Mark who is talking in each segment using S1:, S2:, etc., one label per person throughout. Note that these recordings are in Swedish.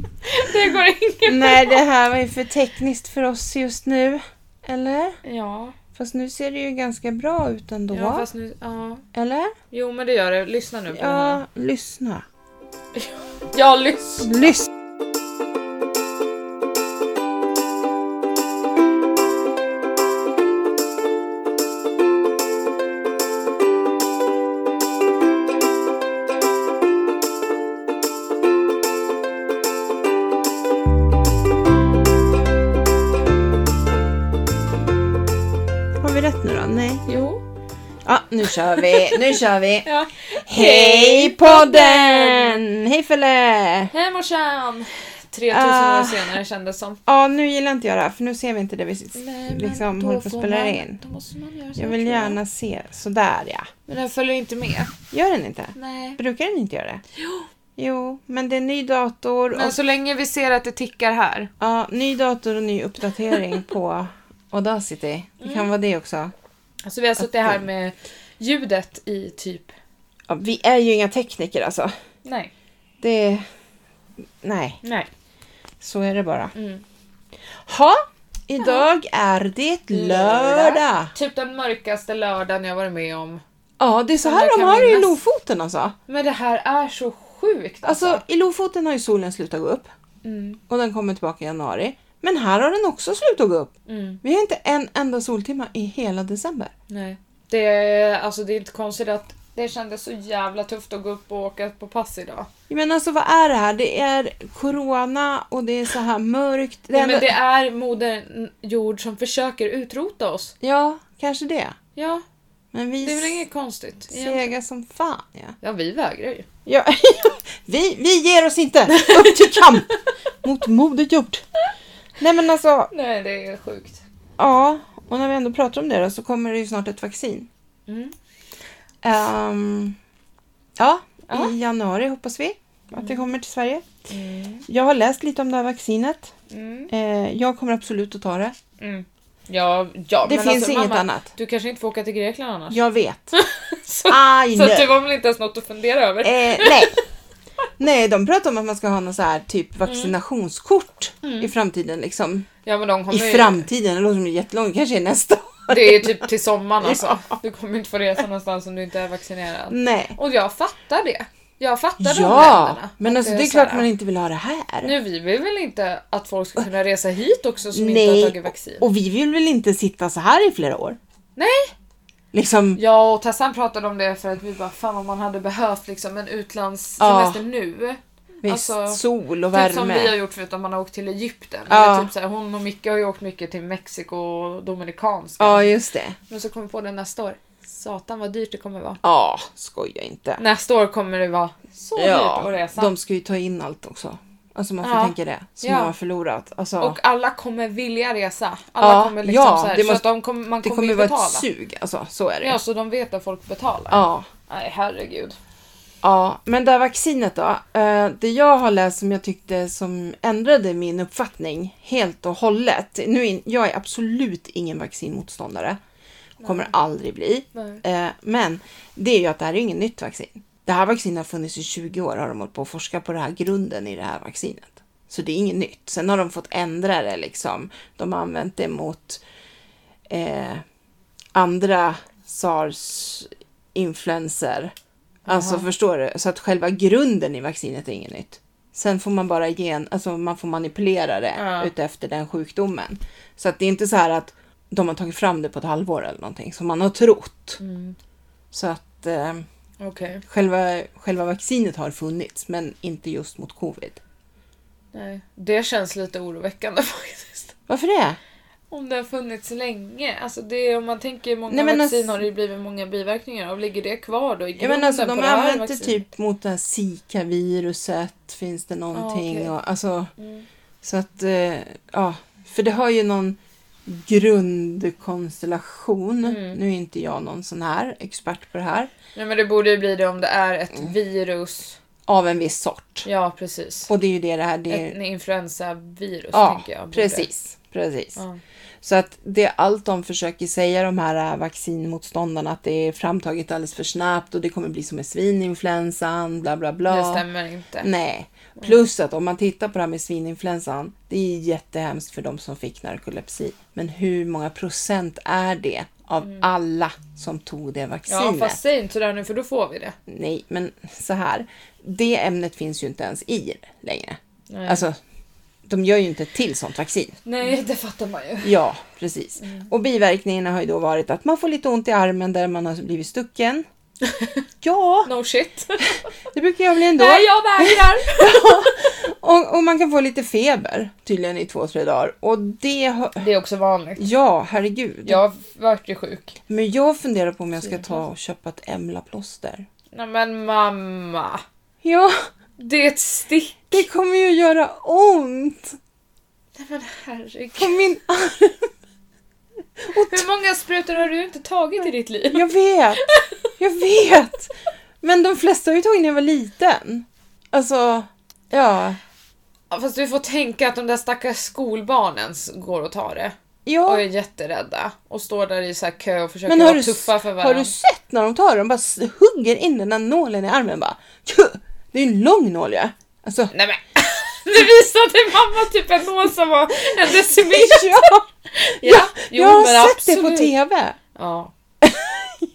S1: det går inget
S2: Nej, det här var ju för tekniskt för oss just nu. Eller?
S1: Ja,
S2: Fast nu ser det ju ganska bra ut ändå.
S1: ja, fast nu... Ja.
S2: Eller?
S1: Jo, men det gör det. Lyssna nu på den här.
S2: Ja, lyssna.
S1: Ja, lyssna.
S2: Lyssna! Har vi rätt nu då? Nej.
S1: Jo.
S2: Ja, nu kör vi. Nu kör vi.
S1: Ja.
S2: Hej podden! Hej Felle!
S1: Hej morsan! 3000 år
S2: Ah.
S1: senare kändes som.
S2: Ja, nu gillar inte jag det här för nu ser vi inte det vi s- liksom
S1: då
S2: håller på att
S1: får
S2: spela
S1: man-
S2: in.
S1: Då måste man göra så
S2: Jag
S1: här,
S2: vill
S1: tror
S2: gärna se. Sådär ja.
S1: Men den följer inte med.
S2: Gör den inte?
S1: Nej.
S2: Brukar den inte göra det? Jo. Jo, men det är ny dator och,
S1: Men så länge vi ser att det tickar här.
S2: ja, ny, dator och ny uppdatering på Audacity. Det kan
S1: Mm.
S2: vara det också.
S1: Så Alltså, vi har suttit här med ljudet i typ...
S2: Ja, vi är ju inga tekniker alltså.
S1: Nej.
S2: Det... Nej,
S1: Nej.
S2: så är det bara.
S1: Mm.
S2: Ha, idag är det lördag.
S1: Typ den mörkaste lördagen jag varit med om.
S2: Ja, det är så
S1: Som
S2: här
S1: jag
S2: de
S1: kan
S2: har det i
S1: minnas.
S2: Lofoten alltså.
S1: Men det här är så sjukt alltså.
S2: Alltså, i Lofoten har ju solen slutat gå upp
S1: Mm.
S2: och den kommer tillbaka i januari. Men här har den också slutat gå upp.
S1: Mm.
S2: Vi har inte en enda soltimme i hela december.
S1: Nej. Det, är- alltså, det är inte konstigt att det kändes så jävla tufft att gå upp och åka på pass idag.
S2: Men alltså vad är det här? Det är corona och det är så här mörkt. Det
S1: Nej,
S2: är
S1: men
S2: ändå-
S1: det är moder jord som försöker utrota oss.
S2: Ja, kanske det.
S1: Ja,
S2: Men vi
S1: det är väl inget konstigt. egentligen.
S2: sega som fan. Ja.
S1: Ja, vi vägrar ju.
S2: Ja, vi, vi ger oss inte! Upp till kamp! Mot modet gjort. Nej men alltså,
S1: Nej, det är sjukt.
S2: ja. Och när vi ändå pratar om det då så kommer det ju snart ett vaccin.
S1: Mm.
S2: Ehm, ja,
S1: Ja.
S2: i januari hoppas vi att det kommer till Sverige. Jag har läst lite om det här vaccinet.
S1: Mm.
S2: Eh, jag kommer absolut att ta det.
S1: Mm. Ja, ja,
S2: Det
S1: men
S2: finns
S1: alltså,
S2: inget
S1: mamma,
S2: annat.
S1: Du kanske inte får åka till Grekland annars?
S2: Jag vet.
S1: så
S2: I
S1: så
S2: know.
S1: att det var väl inte ens något att fundera över?
S2: Eh, nej. nej, de pratar om att man ska ha någon så här
S1: Mm.
S2: typ vaccinationskort i framtiden. Liksom.
S1: Ja, men de kommer
S2: I
S1: ju-
S2: framtiden, det låter som det är jättelångt, kanske är nästa år.
S1: Det är ju typ till sommaren alltså. Du kommer inte få resa någonstans om du inte är vaccinerad.
S2: Nej.
S1: Och jag fattar det. Jag fattar de
S2: Ja,
S1: länderna.
S2: men
S1: Att
S2: alltså, det är
S1: så här,
S2: klart man inte vill ha det här.
S1: Nu, vi vill väl inte att folk ska kunna resa hit också som inte har
S2: nej,
S1: tagit vaccin?
S2: och vi vill väl inte sitta så här i flera år?
S1: Nej!
S2: Liksom,
S1: Ja, och Tessan pratade om det för att vi bara fan om man hade behövt liksom en utlandssemester nu.
S2: visst,
S1: Alltså,
S2: sol och
S1: Typ som vi har
S2: värme.
S1: gjort förutom man har åkt till Egypten.
S2: Ja.
S1: Eller Typ så här, hon och Micke har ju åkt mycket till Mexiko och Dominikanska.
S2: Ja, just det.
S1: Men så kommer vi på det nästa år. Satan vad dyrt det kommer vara.
S2: Ja, skoja inte.
S1: Nästa år kommer det vara så dyrt att
S2: Ja,
S1: resa.
S2: de ska ju ta in allt också. Alltså man får
S1: typ Ja.
S2: tänka det, som
S1: Ja.
S2: man har förlorat. Alltså,
S1: Och alla kommer vilja resa. Alla
S2: Ja,
S1: kommer liksom
S2: ja,
S1: så här,
S2: det
S1: så att
S2: måste-
S1: de kommer, man
S2: det
S1: kommer
S2: kommer
S1: ju
S2: vara
S1: betala.
S2: ett sug, alltså, så är det.
S1: Ja, så de vet att folk betalar.
S2: Ja.
S1: Nej, herregud.
S2: Ja, men det här vaccinet då. Eh, Det jag har läst som jag tyckte som ändrade min uppfattning helt och hållet. Nu in, jag är absolut ingen vaccinmotståndare. Kommer aldrig bli.
S1: Nej.
S2: Eh, Men det är ju att det här är ju inget nytt vaccin. Det här vaccinet har funnits i 20 år har de hållit på att forska på den här grunden i det här vaccinet. Så det är inget nytt. Sen har de fått ändra det liksom. De har använt det mot eh, andra sars-influenser. Alltså förstår du? Så att själva grunden i vaccinet är inget nytt. Sen får man bara gen, alltså man får manipulera det
S1: Ja.
S2: utefter den sjukdomen. Så att det är inte så här att de har tagit fram det på ett halvår eller någonting som man har trott.
S1: Mm.
S2: Så att eh,
S1: Okej.
S2: själva, själva vaccinet har funnits men inte just mot covid.
S1: Nej. Det känns lite oroväckande faktiskt.
S2: Varför det?
S1: Om det har funnits länge. Alltså det, om man tänker många
S2: Nej, men
S1: vaccin
S2: alltså-
S1: har det ju blivit många biverkningar av. Ligger det kvar då i
S2: Jag
S1: grunden
S2: menar alltså de
S1: på det här
S2: använder
S1: vaccinet?
S2: typ mot det här Zika-viruset, finns det någonting
S1: Ah, okej.
S2: och alltså
S1: Mm.
S2: så att eh, ja, för det har ju någon grundkonstellation.
S1: Mm.
S2: Nu är inte jag någon sån här expert på det här.
S1: Nej men det borde ju bli det om det är ett
S2: Mm.
S1: virus.
S2: Av en viss sort.
S1: Ja precis.
S2: Och det är ju det det här, det är,
S1: Ett influensavirus
S2: ja
S1: tänker jag. borde-
S2: precis, precis.
S1: Ja.
S2: Så att det är allt de försöker säga, de här äh, vaccinmotståndarna, att det är framtaget alldeles för snabbt och det kommer bli som med svininfluensan, bla bla bla.
S1: Det stämmer inte.
S2: Nej, Plus att om man tittar på det här med svininfluensan, det är jättehemskt för de som fick narkolepsi. Men hur många procent är det av alla som tog det
S1: Mm. Ja,
S2: vaccinet?
S1: fast säg inte sådär nu för då får vi det.
S2: Nej, men så här. Det ämnet finns ju inte ens i det längre.
S1: Nej,
S2: Alltså, de gör ju inte ett till sånt vaccin.
S1: Nej det fattar man ju.
S2: Ja, precis. Och biverkningarna har ju då varit att man får lite ont i armen där man har blivit stucken. Ja,
S1: No shit.
S2: det brukar jag väl ändå.
S1: Nej, jag vägrar!
S2: Och, och man kan få lite feber tydligen i två, tre dagar. Och det har...
S1: Det är också vanligt.
S2: Ja, herregud.
S1: Jag vart ju sjuk.
S2: Men jag funderar på om jag ska ta och köpa ett Emla-plåster.
S1: Nej men mamma.
S2: Ja,
S1: Det är ett stick.
S2: det kommer ju göra ont
S1: Nej men herregud.
S2: på min arm.
S1: Hur många sprutor har du inte tagit i ditt liv?
S2: Jag vet, jag vet. Men de flesta har ju tagit när jag var liten. Alltså, ja.
S1: Ja, Fast du får tänka att de där stackars skolbarnen s- går och tar det.
S2: Ja,
S1: Och är jätterädda. Och står där i så här kö och försöker
S2: men har
S1: vara
S2: du,
S1: tuffa för
S2: har
S1: varandra.
S2: du sett när de tar det? De bara s- hugger in den där nålen i armen bara. Tju! Det är ju en lång nål ju. Alltså,
S1: Nej men. Nu visade mamma typ en nål som var en decimeter.
S2: ja, ja,
S1: jo,
S2: jag har
S1: men
S2: sett det på
S1: absolut.
S2: TV.
S1: Ja.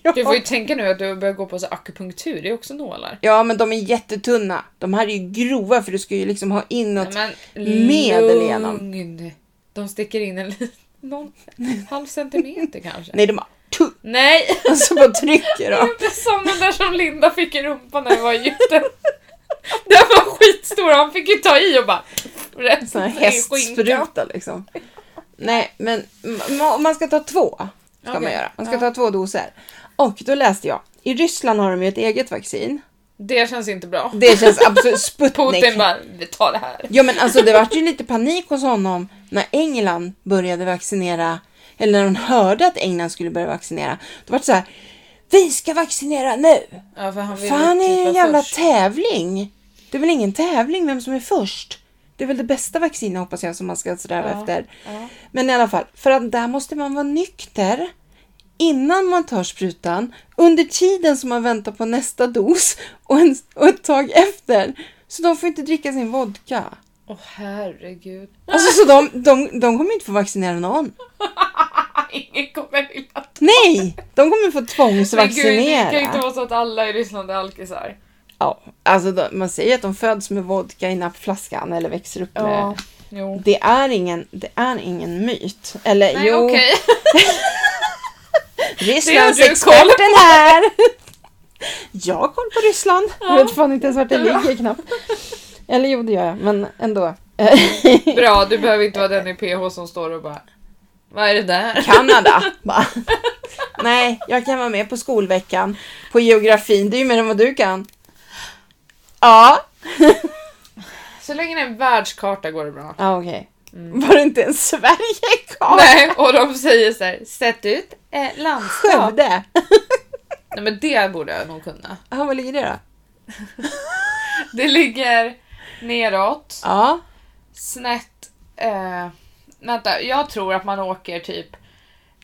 S2: Ja.
S1: Du får ju tänka nu att du börjar gå på så akupunktur, det är också nålar.
S2: Ja, men de är jättetunna. De här är ju grova för du ska ju liksom ha in något.
S1: Nej,
S2: medel igenom.
S1: lugn. De sticker in en li- någon halv centimeter kanske. Nej,
S2: Nej, de bara... Tu,
S1: Nej.
S2: och så bara trycker
S1: det är
S2: de.
S1: inte som den där som Linda fick i rumpan när vi var i Egypten. Den var skitstor, han fick ju ta i och bara...
S2: En sån här
S1: ner i skinkan.
S2: hästspruta liksom. Nej, men ma- man ska ta två. Ska man
S1: Okej,
S2: göra. Man ska
S1: ja.
S2: ta två doser. Och då läste jag. I Ryssland har de ju ett eget vaccin.
S1: Det känns inte bra.
S2: Det känns absolut...
S1: Putin
S2: Sputnik.
S1: bara, vi tar det här.
S2: Ja men alltså det vart ju lite panik hos honom när England började vaccinera, eller när de hörde att England skulle börja vaccinera. Då vart det så här, vi ska vaccinera nu!
S1: Ja, för han vill
S2: Fan det är ju
S1: typ
S2: en
S1: vara
S2: jävla
S1: först.
S2: tävling! Det är väl ingen tävling vem som är först? Det är väl det bästa vaccinet hoppas jag som man ska sträva
S1: Ja,
S2: efter.
S1: ja.
S2: Men i alla fall, för att där måste man vara nykter innan man tar sprutan, under tiden som man väntar på nästa dos och, en, och ett tag efter. Så de får inte dricka sin vodka.
S1: Åh herregud.
S2: Alltså så de, de, de kommer inte få vaccinera någon.
S1: Ingen kommer vilja
S2: Nej! De kommer få
S1: Men gud, det kan ju inte
S2: tvångsvaccinera.
S1: vara så att alla i Ryssland är alkisar.
S2: Ja, alltså de, man säger att de föds med vodka i nappflaskan eller växer upp med...
S1: Jo.
S2: Det är ingen, det är ingen myt. Eller
S1: Nej,
S2: jo,
S1: okej. Det har
S2: Rysslandsexperten här! Jag har koll på Ryssland. Jag vet fan inte ens vart det ligger knappt. Eller jo, det gör jag, men ändå.
S1: Bra, du behöver inte vara den i PH som står och bara Vad är det där?
S2: Kanada. Bara. Nej, jag kan vara med på skolveckan. På geografin, det är ju mer än vad du kan. Ja.
S1: Så länge det är en världskarta går det bra.
S2: Ja, okej. Mm. Var det inte en Sverige-karta?
S1: Nej, och de säger så här, sätt ut eh, landskap.
S2: Skövde.
S1: Nej men det borde jag nog kunna.
S2: Ja, var ligger det då?
S1: Det ligger neråt,
S2: Ja.
S1: snett... Eh, vänta, jag tror att man åker typ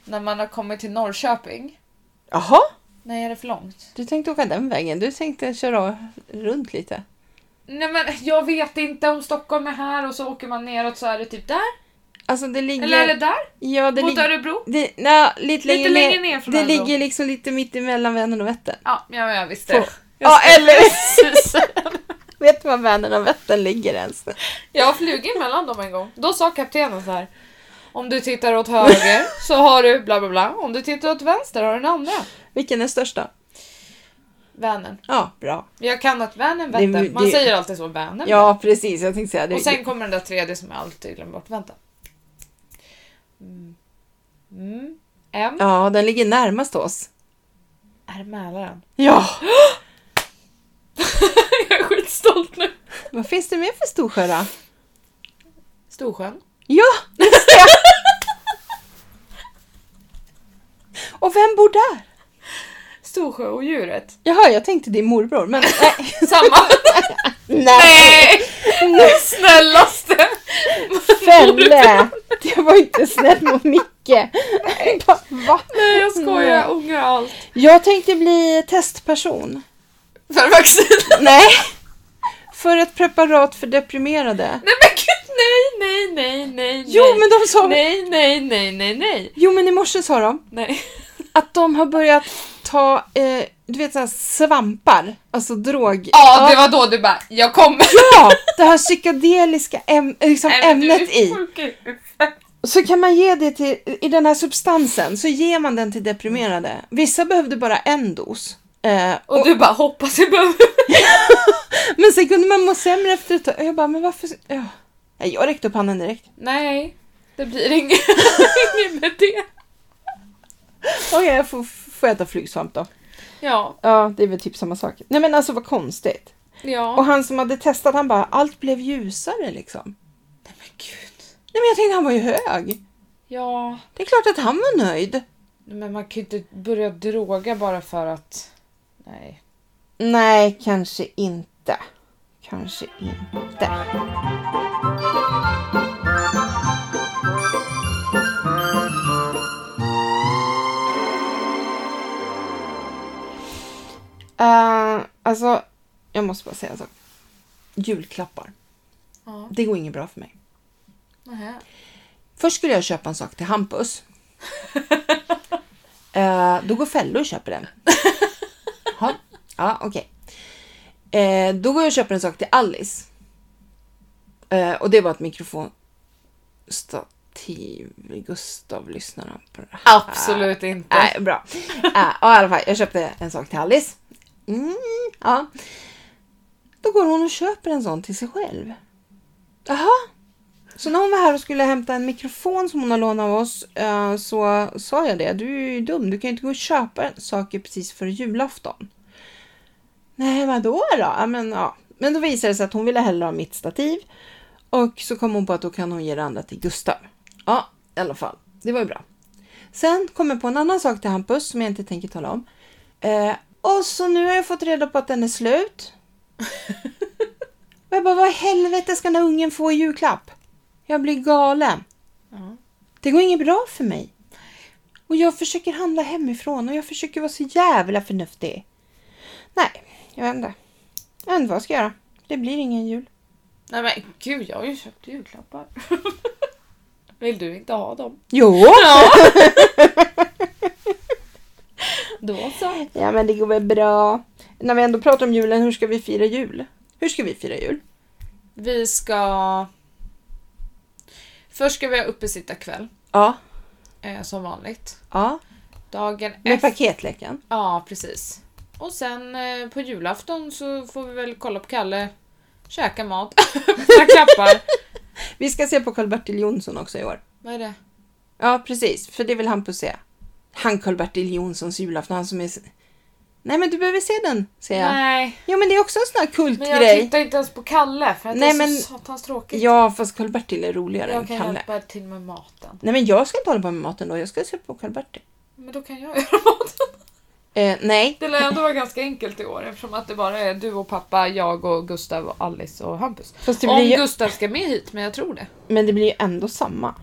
S1: när man har kommit till Norrköping.
S2: Jaha,
S1: Nej, är det för långt?
S2: du tänkte åka den vägen. Du tänkte köra runt lite.
S1: Nej men jag vet inte om Stockholm är här och så åker man neråt så är det typ där.
S2: Alltså det ligger...
S1: Eller är det där?
S2: Ja, det
S1: Mot
S2: ligger...
S1: Örebro?
S2: Det, nja, lite, längre,
S1: längre ner från
S2: Det
S1: Örebro.
S2: ligger liksom lite mitt emellan Vänern och Vättern.
S1: Ja, ja, ja visst det.
S2: Så. Ja, eller...
S1: Precis.
S2: Vet du var Vänern och Vättern ligger ens?
S1: Jag har flugit mellan dem en gång. Då sa kaptenen så här. Om du tittar åt höger så har du bla bla bla. Om du tittar åt vänster har du den andra.
S2: Vilken är störst då?
S1: Vänern.
S2: Ja, bra.
S1: Jag kan att Vänern,
S2: Det-
S1: Vättern. Man
S2: det-
S1: säger alltid så, Vänern.
S2: Ja, precis. Jag tänkte säga det.
S1: Och sen kommer den där tredje som jag alltid glömmer bort. Vänta. Mm. Mm. M
S2: Ja, den ligger närmast oss.
S1: är Mälaren.
S2: Ja!
S1: jag är skitstolt nu.
S2: Vad finns det mer för Storsjö då?
S1: Storsjön.
S2: Ja, just det! Och vem bor där?
S1: Storsjöodjuret.
S2: Jaha, jag tänkte din morbror, men nej.
S1: Samma. Nej! Det snällaste!
S2: Fälle! Det var inte snällt mot Micke. Mm. Bara, Va?
S1: Nej jag skojar, jag ångrar allt.
S2: Jag tänkte bli testperson.
S1: För vaccin.
S2: Nej! för ett preparat för deprimerade.
S1: Nej men gud, nej, nej, nej, nej,
S2: Jo,
S1: nej.
S2: men de sa...
S1: Nej, nej, nej, nej, nej.
S2: Jo, men i morse sa de
S1: Nej.
S2: att de har börjat ta, eh, du vet sådana svampar, alltså drog...
S1: Ja, det var då du bara, jag kommer.
S2: Ja, det här psykedeliska äm- liksom ämnet i.
S1: Mm.
S2: Så kan man ge det till, i den här substansen, så ger man den till deprimerade. Vissa behövde bara en dos. Eh, och,
S1: Och du bara, hoppas jag behöver.
S2: men sen kunde man må sämre efter ett tag. Jag bara, men varför? Ja. Nej, Jag räckte upp handen direkt.
S1: Nej, det blir inget, inget med det.
S2: Okej, jag får, får äta flygsvamp då.
S1: Ja,
S2: Ja, det är väl typ samma sak. Nej men alltså vad konstigt. Och
S1: ja.
S2: han som hade testat, han bara, allt blev ljusare liksom.
S1: Nej men gud.
S2: Nej men jag tänkte, han var ju hög.
S1: Ja,
S2: Det är klart att han var nöjd.
S1: men man kan ju inte börja droga bara för att... Nej.
S2: Nej, kanske inte. Kanske inte. Uh, alltså, jag måste bara säga en sak. Julklappar.
S1: Ja,
S2: Det går inget bra för mig.
S1: nähä.
S2: Först skulle jag köpa en sak till Hampus. Eh, då går Fello och köper den. Ha. Ja, okej. Eh, då går jag och köper en sak till Alice. Eh, och det var ett mikrofonstativ. Gustav lyssnar han på det här?
S1: Absolut inte.
S2: Nej, bra. Eh, och i alla fall, jag köpte en sak till Alice. Mm, ja. Då går hon och köper en sån till sig själv. Jaha. Så när hon var här och skulle hämta en mikrofon som hon har lånat av oss eh, så sa jag det. Du är ju dum, du kan ju inte gå och köpa saker precis före julafton. Nej, vadå då? Ja, men, ja. men då visade det sig att hon ville hellre ha mitt stativ. Och så kom hon på att då kan hon ge det andra till Gustav. Ja, i alla fall. Det var ju bra. Sen kom jag på en annan sak till Hampus som jag inte tänker tala om. Eh, och så nu har jag fått reda på att den är slut. och jag bara, vad i helvete ska den här ungen få i julklapp? Jag blir galen.
S1: Ja.
S2: Det går inget bra för mig. Och jag försöker handla hemifrån och jag försöker vara så jävla förnuftig. Nej, jag vet inte. Jag vet inte vad jag ska göra. Det blir ingen jul.
S1: Nej men gud, jag har ju köpt julklappar. Vill du inte ha dem?
S2: Jo!
S1: Ja. Då så.
S2: Ja men det går väl bra. När vi ändå pratar om julen, hur ska vi fira jul? Hur ska vi fira jul?
S1: Vi ska... Först ska vi ha uppesittarkväll,
S2: Ja.
S1: eh, som vanligt.
S2: Ja.
S1: Dagen
S2: Med
S1: efter...
S2: paketleken.
S1: Ja, precis. Och sen eh, på julafton så får vi väl kolla på Kalle, käka mat, öppna klappar.
S2: Vi ska se på Karl-Bertil Jonsson också i år.
S1: Vad är det?
S2: Ja precis, för det vill Hampus se. Han Karl-Bertil Jonssons julafton, han som är... Nej men du behöver se den, säger jag.
S1: Nej,
S2: Jo men det är också en sån här
S1: men jag
S2: kultgrej.
S1: tittar inte ens på Kalle för att
S2: Nej,
S1: det är
S2: men-
S1: så satans tråkigt.
S2: Ja fast Karl-Bertil är roligare
S1: jag
S2: än
S1: kan
S2: Kalle.
S1: hjälpa till med maten.
S2: Nej men jag ska inte hålla på med maten då, jag ska se på Karl-Bertil.
S1: Men då kan jag göra maten.
S2: Eh, nej.
S1: Det lär ändå vara ganska enkelt i år eftersom att det bara är du och pappa, jag och Gustav och Alice och Hampus.
S2: Fast det
S1: Om
S2: blir ju...
S1: Gustav ska med hit, men jag tror det.
S2: Men det blir ju ändå samma.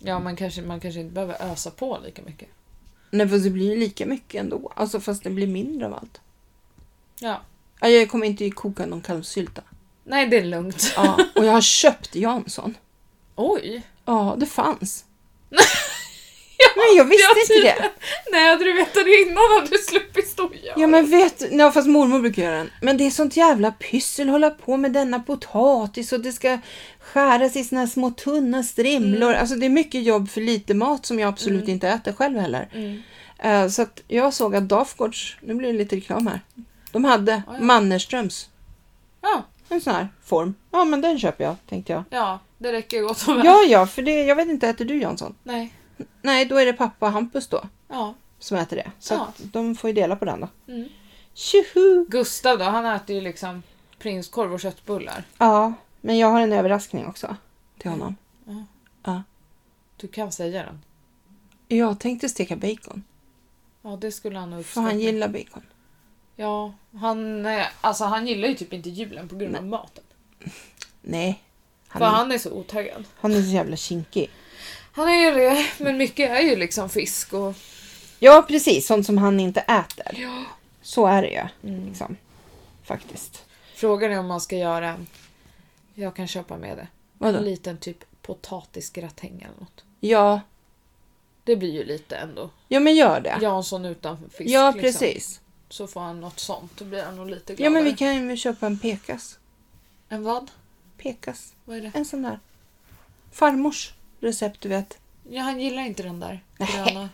S1: Ja, man kanske, man kanske inte behöver ösa på lika mycket.
S2: Nej fast det blir ju lika mycket ändå. Alltså fast det blir mindre av allt.
S1: Ja.
S2: Ja, Jag kommer inte koka någon kalvsylta.
S1: Nej, det är lugnt.
S2: Ja, och jag har köpt Jansson.
S1: Oj!
S2: Ja, det fanns. men jag visste
S1: jag
S2: inte det.
S1: Nej, hade du vetat det innan hade du sluppit stå och göra
S2: Ja men vet du, ja, fast mormor brukar göra den. Men det är sånt jävla pyssel hålla på med denna potatis och det ska skäras i såna här små tunna strimlor.
S1: Mm.
S2: Alltså det är mycket jobb för lite mat som jag absolut inte äter själv heller.
S1: Mm.
S2: Eh, så att jag såg att Dafgårds, nu blir det lite reklam här, de hade
S1: ja.
S2: Mannerströms,
S1: Ja,
S2: en sån här form. Ja men den köper jag, tänkte jag.
S1: ja, det räcker gott och väl.
S2: Ja ja, för det, jag vet inte, äter du Jansson?
S1: Nej,
S2: Nej, då är det pappa och Hampus då.
S1: ja.
S2: som äter det. Så
S1: Ja.
S2: att de får ju dela på den då.
S1: Mm.
S2: Tjoho!
S1: Gustav då, han äter ju liksom prinskorv och köttbullar.
S2: Ja, men jag har en överraskning också till honom.
S1: Du kan säga den.
S2: Jag tänkte steka bacon,
S1: Ja, det skulle han ha
S2: för
S1: uppskattat.
S2: han gillar bacon.
S1: Ja, han, eh, alltså, han gillar ju typ inte julen på grund av maten.
S2: Nej, han
S1: för
S2: är,
S1: han är så otaggad.
S2: han är så jävla kinkig.
S1: Han är ju det, men mycket är ju liksom fisk och...
S2: Ja, Mm. precis. Sånt som han inte äter. Så är det ju. Liksom. Faktiskt.
S1: Frågan är om man ska göra... Jag kan köpa med det.
S2: Vadå?
S1: En liten typ potatisgratäng eller något.
S2: Ja,
S1: Det blir ju lite ändå.
S2: ja men gör det. Ja,
S1: Jansson utan fisk. liksom.
S2: precis.
S1: Så får han något sånt. Då blir han nog lite gladare.
S2: Ja men vi kan ju köpa en pekas.
S1: En vad?
S2: Pekas.
S1: Vad är det?
S2: En sån där. Farmors recept du vet.
S1: Ja, han gillar inte den där
S2: Nej.
S1: gröna.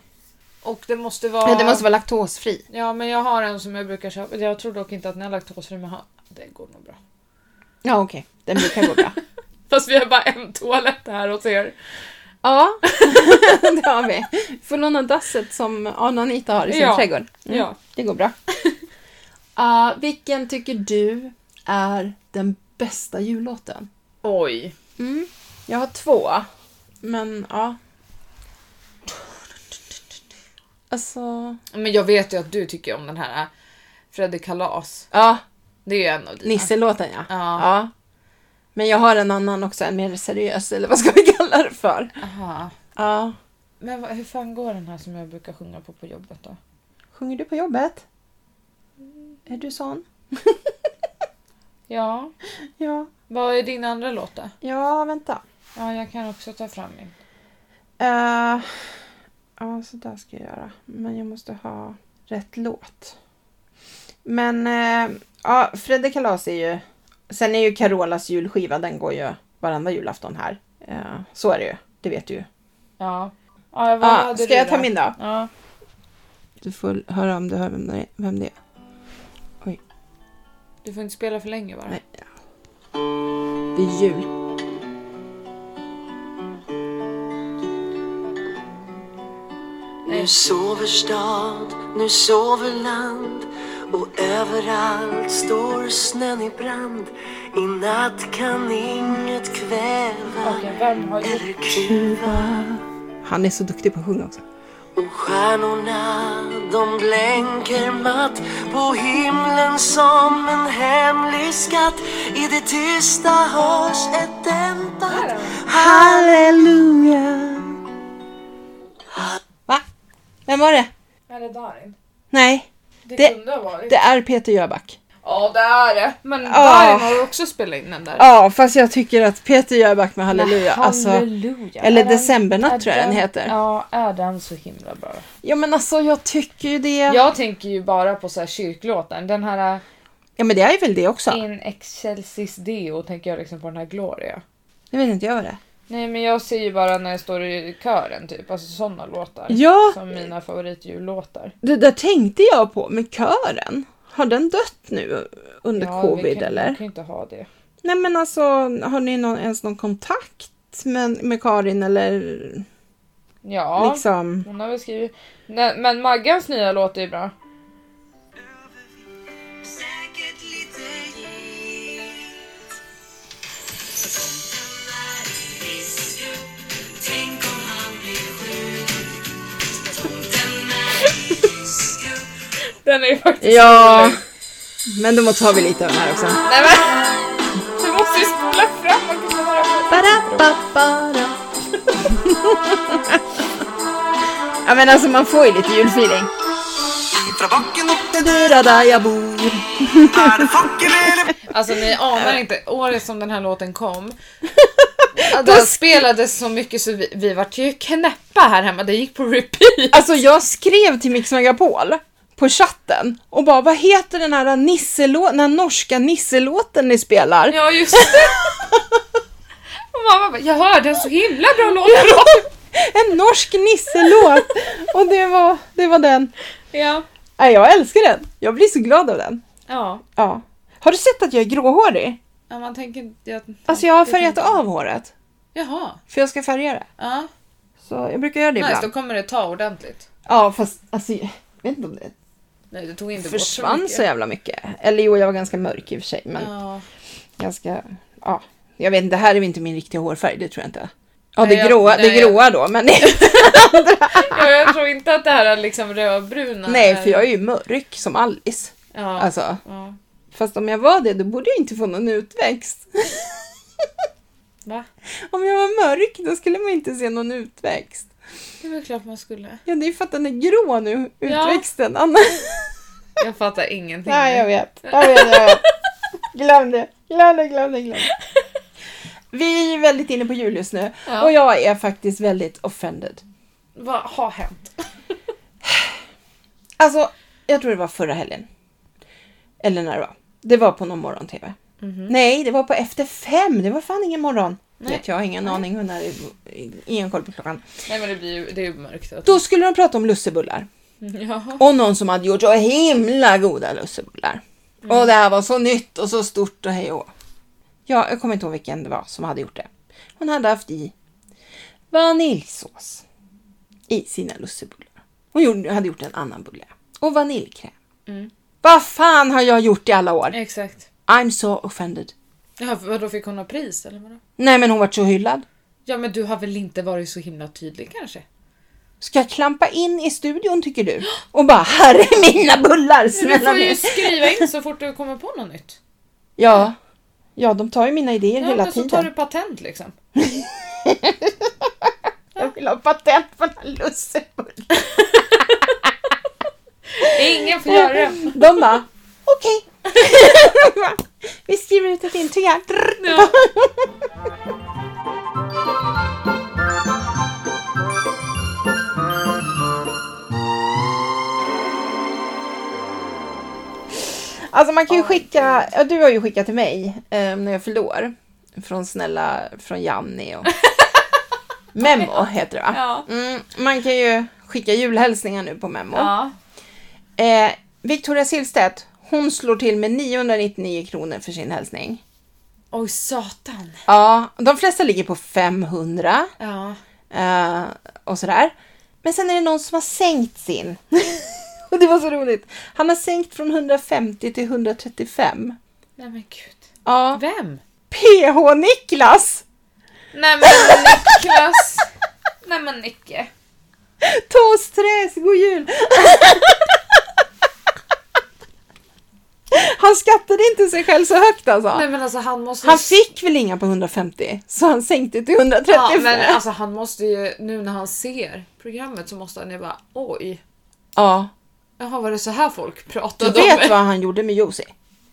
S1: Och det måste vara...
S2: Nej, det måste vara laktosfri.
S1: Ja, men jag har en som jag brukar köpa. Jag tror dock inte att ni har laktosfri, men han- det går nog bra.
S2: Ja okej, den brukar gå bra.
S1: Fast vi har bara en toalett här hos er.
S2: ja, det har vi. Får låna dasset som Anna-Anita har i sin
S1: Ja.
S2: trädgård. Mm,
S1: Ja.
S2: Det går bra. Ah, vilken tycker du är den bästa jullåten?
S1: Oj.
S2: Mm. Jag har två. Men ja. Alltså...
S1: Men jag vet ju att du tycker om den här Freddy Kalas.
S2: Ja,
S1: Det är ju en av dina.
S2: Nisselåten ja.
S1: Ja.
S2: ja. Men jag har en annan också, en mer seriös eller vad ska vi kalla det för?
S1: Aha.
S2: Ja.
S1: Men vad- hur fan går den här som jag brukar sjunga på på jobbet då?
S2: Sjunger du på jobbet? Är du sån?
S1: Ja.
S2: Ja.
S1: Vad är din andra låt då?
S2: Ja, vänta.
S1: Ja, jag kan också ta fram min.
S2: Eh, ja, så där ska jag göra. Men jag måste ha rätt låt. Men eh, ja, Fredde Kalas är ju... Sen är ju Carolas julskiva, den går ju varenda julafton här. Eh, så är det ju, det vet du ju.
S1: Ja. ja vad
S2: Ah,
S1: hade
S2: ska
S1: du
S2: jag
S1: då?
S2: ta min då?
S1: Ja.
S2: Du får höra om du hör vem det är. Vem det är.
S1: Du får inte spela för länge bara.
S2: Nej. Det är jul.
S3: Nu sover stad, nu sover land och överallt står snön i brand. I natt kan inget kväva
S1: Okej, vem har gjort
S3: eller kuva
S2: Han är så duktig på att sjunga också.
S3: och stjärnorna de blänker matt på himlen som en hemlig skatt. I det tysta hörs ett dämpat halleluja.
S2: Va? Vem var det?
S1: Är det Darin?
S2: Nej,
S1: Det,
S2: Det-
S1: kunde ha varit.
S2: det är Peter Jöback.
S1: Ja, det är det. Men
S2: Ah.
S1: Darin har också spelat in den där.
S2: Ja, fast jag tycker att Peter Jöback med Halleluja, alltså.
S1: halleluja.
S2: eller
S1: Är den-
S2: Decembernatt
S1: är
S2: tror jag den heter.
S1: Ja, är den så himla bra?
S2: Ja men alltså jag tycker ju det. Ja,
S1: Jag tänker ju bara på så här kyrklåten. Den här
S2: men det är ju väl det också.
S1: eh, In excelsis deo tänker jag liksom på den här Gloria.
S2: Det vet inte jag vad det är.
S1: Nej men jag ser ju bara när jag står i kören typ, alltså sådana låtar.
S2: Ja.
S1: Som mina favoritjullåtar.
S2: Det där tänkte jag på med kören. Har den dött nu under
S1: Ja, vi
S2: covid
S1: kan,
S2: eller?
S1: Vi kan ju inte ha det.
S2: Nej men alltså har ni någon, ens någon kontakt med, med Karin eller
S1: Ja,
S2: liksom?
S1: hon har väl skrivit. Nej, men Maggans nya låt är ju bra.
S3: Säkert lite gift. Tomten är en biskop. Tänk om han blir sjuk. Tomten är en biskop.
S1: Den är ju faktiskt...
S2: Ja. Men då tar vi lite av den här också.
S1: Nej men! Du måste ju spola fram och kunna höra på.
S2: Ba-da-ba-ba-da. ja men alltså man får ju lite julfeeling.
S3: Ifrån backen upp
S2: Det dyra där jag bor.
S3: är det facken eller
S1: Alltså ni anar inte, året som den här låten kom. att
S2: Alltså-
S1: Den spelades så mycket så vi, vi vart ju knäppa här hemma, det gick på repeat.
S2: Alltså jag skrev till Mix Megapol på chatten och bara vad heter den här nisselå- den här norska nisselåten ni spelar?
S1: Ja just det! Och mamma bara, jag hörde en så himla bra låt.
S2: En norsk nisselåt! och det var, det var den.
S1: Ja.
S2: Nej, jag älskar den. Jag blir så glad av den.
S1: Ja.
S2: Ja. Har du sett att jag är gråhårig?
S1: ja man tänker inte... jag-
S2: Alltså jag har
S1: det
S2: färgat
S1: tänker-
S2: av håret.
S1: Jaha.
S2: För jag ska färga det.
S1: Ja.
S2: Så jag brukar göra det
S1: Nice,
S2: ibland.
S1: då kommer det ta ordentligt.
S2: Ja fast alltså jag vet inte om det
S1: Nej det tog inte
S2: försvann
S1: bort
S2: så
S1: mycket.
S2: jävla mycket. Eller jo, jag var ganska mörk i och för sig. Men
S1: Ja.
S2: ganska, ja. Jag vet inte, det här är väl inte min riktiga hårfärg, det tror jag inte. Ja,
S1: Nej,
S2: det
S1: jag-
S2: gråa,
S1: nej,
S2: det
S1: jag-
S2: gråa då, men
S1: ja. Jag tror inte att det här är liksom rödbruna.
S2: nej, för jag är ju mörk som Alice.
S1: Ja.
S2: Alltså,
S1: ja.
S2: fast om jag var det, då borde jag inte få någon utväxt.
S1: Va?
S2: Om jag var mörk, då skulle man inte se någon utväxt.
S1: Det var klart man skulle.
S2: Ja, det är för att den är grå nu,
S1: Ja.
S2: utväxten. Annars...
S1: Jag fattar ingenting.
S2: Nej, jag vet. Jag vet, jag vet. Glöm det, glöm det, glöm det, glöm det. Vi är väldigt inne på jul just nu
S1: Ja.
S2: och jag är faktiskt väldigt offended.
S1: Vad har hänt?
S2: Alltså, jag tror det var förra helgen. Eller när det var. Det var på någon morgon-tv.
S1: Mhm.
S2: Nej, det var på Efter fem. Det var fan ingen morgon.
S1: Mm. Nej.
S2: Vet jag, ingen aning. Hon är ingen koll på klockan.
S1: Nej men det blir ju, det är ju mörkt. Mm,
S2: Då skulle de prata om lussebullar.
S1: Ja.
S2: Och någon som hade gjort så himla goda lussebullar.
S1: Mm.
S2: Och det här var så nytt och så stort och hej och hå. ja, Jag kommer inte ihåg vilken det var som hade gjort det. Hon hade haft i vaniljsås i sina lussebullar. Hon gjorde, hade gjort en annan bulle. Och vaniljkräm.
S1: Mm.
S2: Vad fan har jag gjort i alla år?
S1: Exakt.
S2: I'm so offended.
S1: Ja, vadå fick hon ha pris eller vadå?
S2: Nej men hon vart så hyllad.
S1: Ja men du har väl inte varit så himla tydlig kanske?
S2: Ska jag klampa in i studion tycker du? Och bara, här är mina bullar!
S1: Du
S2: Snälla
S1: får ju
S2: mig.
S1: skriva in så fort du kommer på något nytt.
S2: Ja. ja, de tar ju mina idéer
S1: Ja,
S2: hela
S1: men så tar
S2: tiden.
S1: du patent liksom.
S2: Jag vill ha patent på den här lussebullen.
S1: Ingen får göra det.
S2: De bara, okej. Vi skriver ut ett intyg här.
S1: Ja.
S2: Alltså man kan ju skicka, ja, du har ju skickat till mig eh, när jag fyllde år. Från snälla, från Janni och Memo heter det va?
S1: Ja.
S2: Mm, man kan ju skicka julhälsningar nu på Memo.
S1: ja.
S2: Eh, Victoria Silvstedt, hon slår till med 999 kronor för sin hälsning.
S1: Oj satan.
S2: Ja, de flesta ligger på 500
S1: Ja.
S2: eh, och sådär. Men sen är det någon som har sänkt sin. och det var så roligt. Han har sänkt från 150 till 135.
S1: Nej men gud.
S2: Ja,
S1: Vem?
S2: PH Niklas!
S1: Nej men Niklas. Nej men Nicke.
S2: Tås Träs, god jul! Han skattade inte sig själv så högt alltså.
S1: Nej men alltså han måste ju...
S2: Han fick väl inga på 150, så han sänkte till 135.
S1: Ja men alltså han måste ju, nu när han ser programmet så måste han ju bara oj.
S2: Ja,
S1: Jaha var det så här folk
S2: du
S1: pratade om
S2: vet
S1: mig?
S2: vad han gjorde med Josie?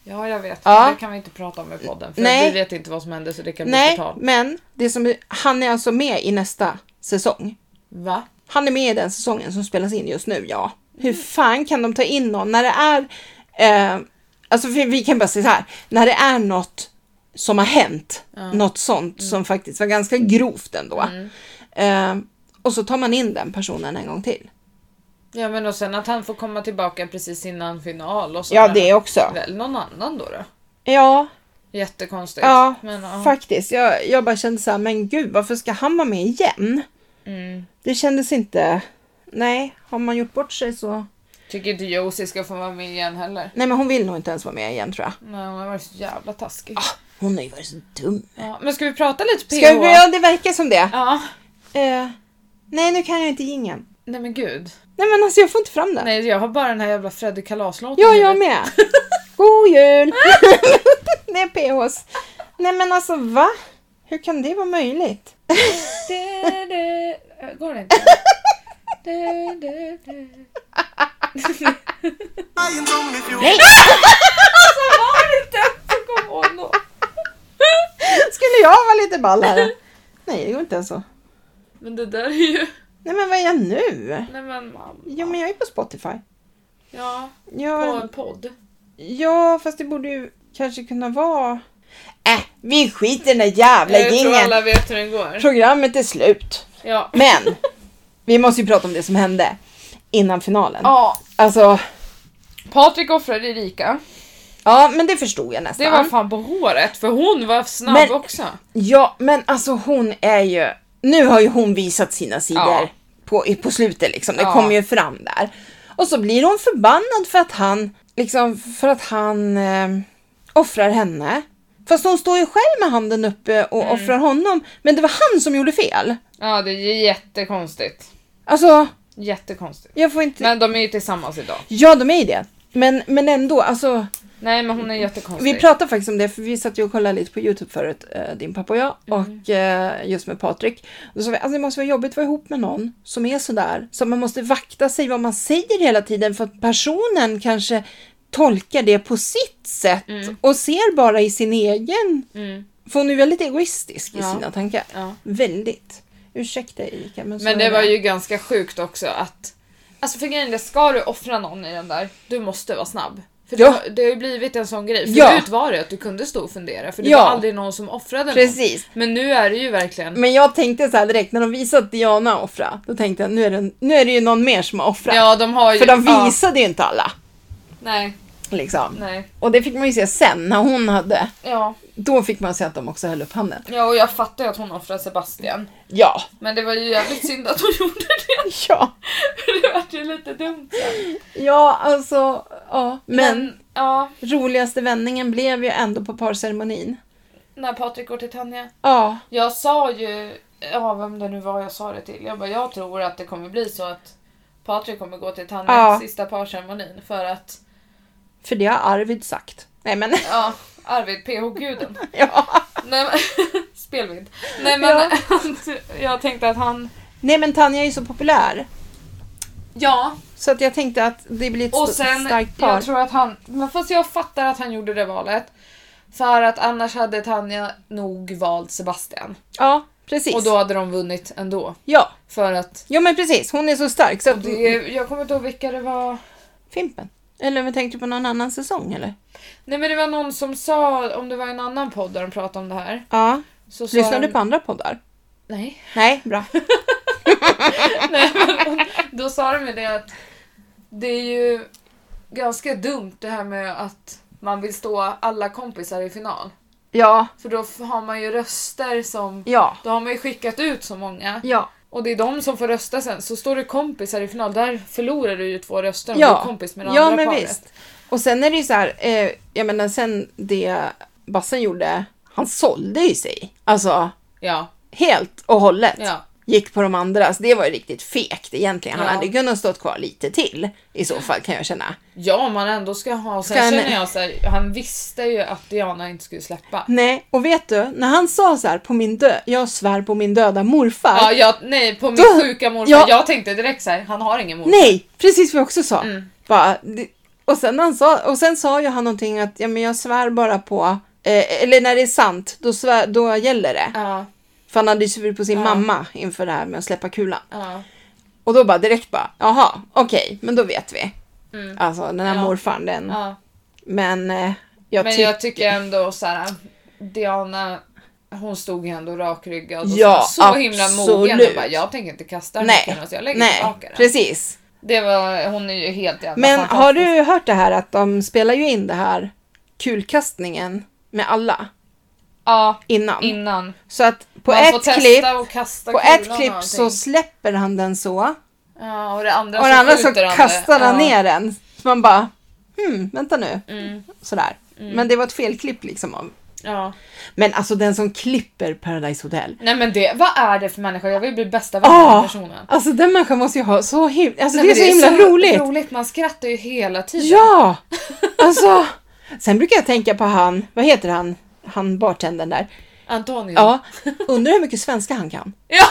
S1: Ja jag vet.
S2: Ja.
S1: Det kan vi inte prata om i podden för
S2: Nej.
S1: vi vet inte vad som hände så det kan bli
S2: Nej,
S1: förtal.
S2: men det som, han är alltså med i nästa säsong.
S1: Va?
S2: Han är med i den säsongen som spelas in just nu, ja. Hur fan kan de ta in någon när det är... Eh, alltså vi, vi kan bara säga så här, när det är något som har hänt, något sånt som faktiskt var ganska grovt ändå. Eh, och så tar man in den personen en gång till.
S1: Ja men och sen att han får komma tillbaka precis innan final och så.
S2: Ja,
S1: där.
S2: det också.
S1: Väl någon annan då då?
S2: Ja,
S1: Jättekonstigt.
S2: Ja,
S1: men, ja.
S2: faktiskt. Jag, jag bara kände så här, men gud, varför ska han vara med igen?
S1: Mm.
S2: Det kändes inte... Nej, har man gjort bort sig så...
S1: Tycker inte Josie ska få vara med igen heller.
S2: Nej, men hon vill nog inte ens vara med igen tror jag.
S1: Nej, hon har varit så jävla taskig.
S2: Hon har ju varit så dum.
S1: Ja, men ska vi prata lite PH?
S2: Ah. Ska vi, ja, det verkar som det.
S1: Ja.
S2: Eh, nej, nu kan jag inte ingen.
S1: Nej men gud.
S2: Nej, men alltså jag får inte fram den.
S1: Nej jag har bara den här jävla Freddy Kalas-låten.
S2: Ja,
S1: i
S2: jag
S1: huvudet.
S2: med. God jul! det är PHs. Nej, men alltså va? Hur kan det vara möjligt?
S1: Du, du. Äh, Går det inte? Du, du, du.
S3: Nej!
S1: Så var det inte! Jag kom ihåg något.
S2: Skulle jag vara lite ball här? Nej, det går inte ens så.
S1: Men det där är ju...
S2: Nej, men vad är jag nu?
S1: Nej men mamma.
S2: Jo, men jag är på Spotify.
S1: Ja, på
S2: Jag,
S1: en podd.
S2: ja, fast det borde ju kanske kunna vara... Äh, vi skiter i den där jävla
S1: Jag tror
S2: jingeln.
S1: alla vet hur den går.
S2: Programmet är slut.
S1: Ja.
S2: Men, vi måste ju prata om det som hände innan finalen.
S1: Ja,
S2: Alltså,
S1: Patrik och Fredrika.
S2: ja, men det förstod jag nästan.
S1: Det var fan på håret för hon var snabb
S2: Men-
S1: också.
S2: Ja, men alltså hon är ju... Nu har ju hon visat sina sidor
S1: Ja.
S2: på, i- på slutet liksom. Det
S1: Ja.
S2: kommer ju fram där. Och så blir hon förbannad för att han, liksom, för att han eh, offrar henne. Fast hon står ju själv med handen uppe och
S1: Mm.
S2: offrar honom. Men det var han som gjorde fel.
S1: Ja, det är jättekonstigt.
S2: Alltså,
S1: Jättekonstigt.
S2: jag får inte...
S1: Men de är ju tillsammans idag.
S2: Ja, de är ju det. Men, men ändå, alltså.
S1: Nej, men hon är jättekonstig.
S2: Vi pratade faktiskt om det, för vi satt ju och kollade lite på Youtube förut, eh, din pappa och jag,
S1: Mm.
S2: och eh, just med Patrik. Då sa vi, alltså det måste vara jobbigt att vara ihop med någon som är sådär, så man måste vakta sig vad man säger hela tiden, för att personen kanske tolkar det på sitt sätt
S1: Mm.
S2: och ser bara i sin egen.
S1: Mm.
S2: För hon är väldigt egoistisk i
S1: Ja.
S2: sina tankar.
S1: Ja.
S2: Väldigt. Ursäkta Erika, men så
S1: Men
S2: är
S1: det var ju ganska sjukt också att... Alltså för grejen är, ska du offra någon i den där, du måste vara snabb. För
S2: Ja.
S1: det, har, det har ju blivit en sån grej.
S2: Ja.
S1: Förut var det att du kunde stå och fundera för det
S2: Ja.
S1: var aldrig någon som offrade någon.
S2: Precis. Mm.
S1: Men nu är det ju verkligen...
S2: Men jag tänkte så här direkt när de visat Diana offra. Då tänkte jag nu är det, nu är det ju någon mer som har offrat.
S1: Ja, de har ju...
S2: För de
S1: ja.
S2: visade ju inte alla.
S1: Nej,
S2: Liksom.
S1: nej.
S2: Och det fick man ju se sen när hon hade.
S1: Ja.
S2: Då fick man se att de också höll upp handen.
S1: ja, och jag fattar ju att hon offrade Sebastian.
S2: Ja.
S1: Men det var ju jävligt synd att hon gjorde det.
S2: Ja.
S1: För det vart ju lite dumt.
S2: Ja, alltså. Ja. Men,
S1: ja,
S2: roligaste vändningen blev ju ändå på parceremonin.
S1: när Patrik går till Tanja.
S2: Ja.
S1: Jag sa ju, ja vem det nu var jag sa det till, jag bara jag tror att det kommer bli så att Patrik kommer gå till Tanja
S2: Ja.
S1: sista parceremonin för att,
S2: För det har Arvid sagt. Nej men.
S1: ja, Arvid PH-guden.
S2: Ja.
S1: Nej men, spelvind. Nej men,
S2: Ja.
S1: jag tänkte att han,
S2: Nej men Tanja är ju så populär.
S1: ja,
S2: Så att jag tänkte att det blir ett
S1: och
S2: st-
S1: sen,
S2: starkt par.
S1: jag tror att han, men fast jag fattar att han gjorde det valet. För att annars hade Tanja nog valt Sebastian.
S2: Ja, precis.
S1: Och då hade de vunnit ändå.
S2: Ja.
S1: För att,
S2: Ja men precis, hon är så stark. Så att...
S1: det, jag kommer inte ihåg vilka det var.
S2: Fimpen. Eller men tänkte du på någon annan säsong eller?
S1: Nej men det var någon som sa, om det var en annan podd där de pratade om det här.
S2: Ja.
S1: Så sa
S2: Lyssnar
S1: de-
S2: du på andra poddar?
S1: Nej.
S2: Nej, bra.
S1: Nej men, då sa de ju det att det är ju ganska dumt det här med att man vill stå alla kompisar i final.
S2: Ja,
S1: För då f- har man ju röster som...
S2: ja,
S1: Då har man ju skickat ut så många.
S2: ja.
S1: Och det är de som får rösta sen. Så står det kompisar i final, där förlorar du ju två röster om du är
S2: Ja,
S1: kompis med det
S2: ja
S1: andra
S2: men
S1: paret.
S2: visst. Och sen är det ju så här, eh, jag menar sen det Bassen gjorde, han sålde ju sig. Alltså
S1: Ja,
S2: helt och hållet.
S1: ja.
S2: Gick på de andra, så det var ju riktigt fegt egentligen. Han
S1: Ja.
S2: hade kunnat stått kvar lite till i så fall kan jag känna.
S1: Ja, om man ändå ska ha... Sen
S2: Ska han-
S1: känner jag så här, han visste ju att Diana inte skulle släppa.
S2: Nej, och vet du, när han sa så här på min död, jag svär på min döda morfar.
S1: Ja, jag, nej, på min
S2: Då-
S1: sjuka morfar.
S2: Ja.
S1: Jag tänkte direkt så här, han har ingen morfar.
S2: Nej, precis vad jag också sa.
S1: Mm.
S2: Bara, det- och, sen han sa, och sen sa ju han någonting att ja, men jag svär bara på, eh, eller när det är sant, då, svär, då gäller det.
S1: Ja,
S2: För han hade ju svurit på sin
S1: Ja.
S2: mamma inför det här med att släppa kulan.
S1: ja,
S2: Och då bara direkt bara, jaha, okej, men då vet vi.
S1: Mm.
S2: Alltså den här
S1: Ja.
S2: morfarn, den.
S1: ja.
S2: Men eh, jag
S1: Men
S2: tycker...
S1: jag tycker ändå så här, Diana, hon stod ju ändå rakryggad och
S2: Ja,
S1: så, så himla mogen.
S2: absolut.
S1: Och bara, jag tänker inte kasta den här
S2: Nej,
S1: kulan, så jag lägger
S2: nej,
S1: tillbaka den.
S2: precis.
S1: Det var, hon är ju helt jävla
S2: Men
S1: fantastisk.
S2: har du hört det här att de spelar ju in det här kulkastningen med alla
S1: Ja,
S2: innan?
S1: innan.
S2: Så att på
S1: Man får
S2: ett
S1: testa
S2: klipp
S1: och kasta
S2: På
S1: kulan
S2: ett
S1: och
S2: klipp
S1: allting.
S2: så släpper han den så.
S1: Ja, och det andra
S2: Och
S1: så
S2: den andra så
S1: skjuter han det.
S2: kastar han
S1: Ja.
S2: ner den. Så man bara, hmm, vänta nu.
S1: Mm,
S2: Sådär. Men det var ett felklipp liksom. av-
S1: ja.
S2: Men alltså den som klipper Paradise Hotel.
S1: Nej men det, vad är det för människa? Jag vill bli bästa vän med den
S2: Ah,
S1: personen.
S2: alltså den människan måste ju ha så himla... Alltså
S1: Nej,
S2: det är
S1: men
S2: så himla roligt.
S1: Man skrattar ju hela tiden.
S2: Ja! Alltså. Sen brukar jag tänka på han, vad heter han? Han bartendern där.
S1: Antonio.
S2: Ja, undrar hur mycket svenska han kan.
S1: Ja.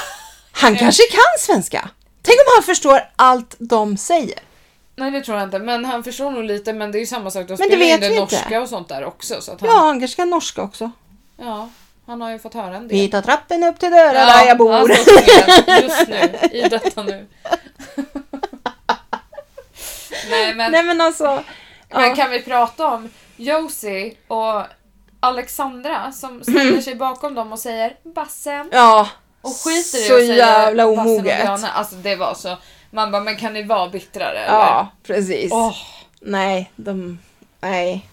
S2: Han kanske kan svenska. Tänk om han förstår allt de säger.
S1: Nej det tror jag inte, men han förstår nog lite men det är ju samma sak. De
S2: det
S1: spelar ju in
S2: vet
S1: det
S2: vi inte.
S1: norska och sånt där också. Så att han,
S2: Ja, han kanske kan norska också.
S1: ja, Han har ju fått höra en
S2: Vi
S1: del.
S2: tar trappen upp till dörren där
S1: Ja, alltså.
S2: jag bor.
S1: han står tydligen just nu, i detta nu. Nej men,
S2: Nej men alltså.
S1: men
S2: Ja.
S1: kan vi prata om Josie och Alexandra
S2: Mm.
S1: som ställer sig bakom dem och säger bassen.
S2: ja.
S1: Och skiter i
S2: Så
S1: att säga
S2: jävla
S1: Bassen och
S2: omoget.
S1: Diana. Alltså det var så. Man bara, men kan ni vara bittrare
S2: Ja, precis.
S1: eller? Åh,
S2: Nej, de... Nej.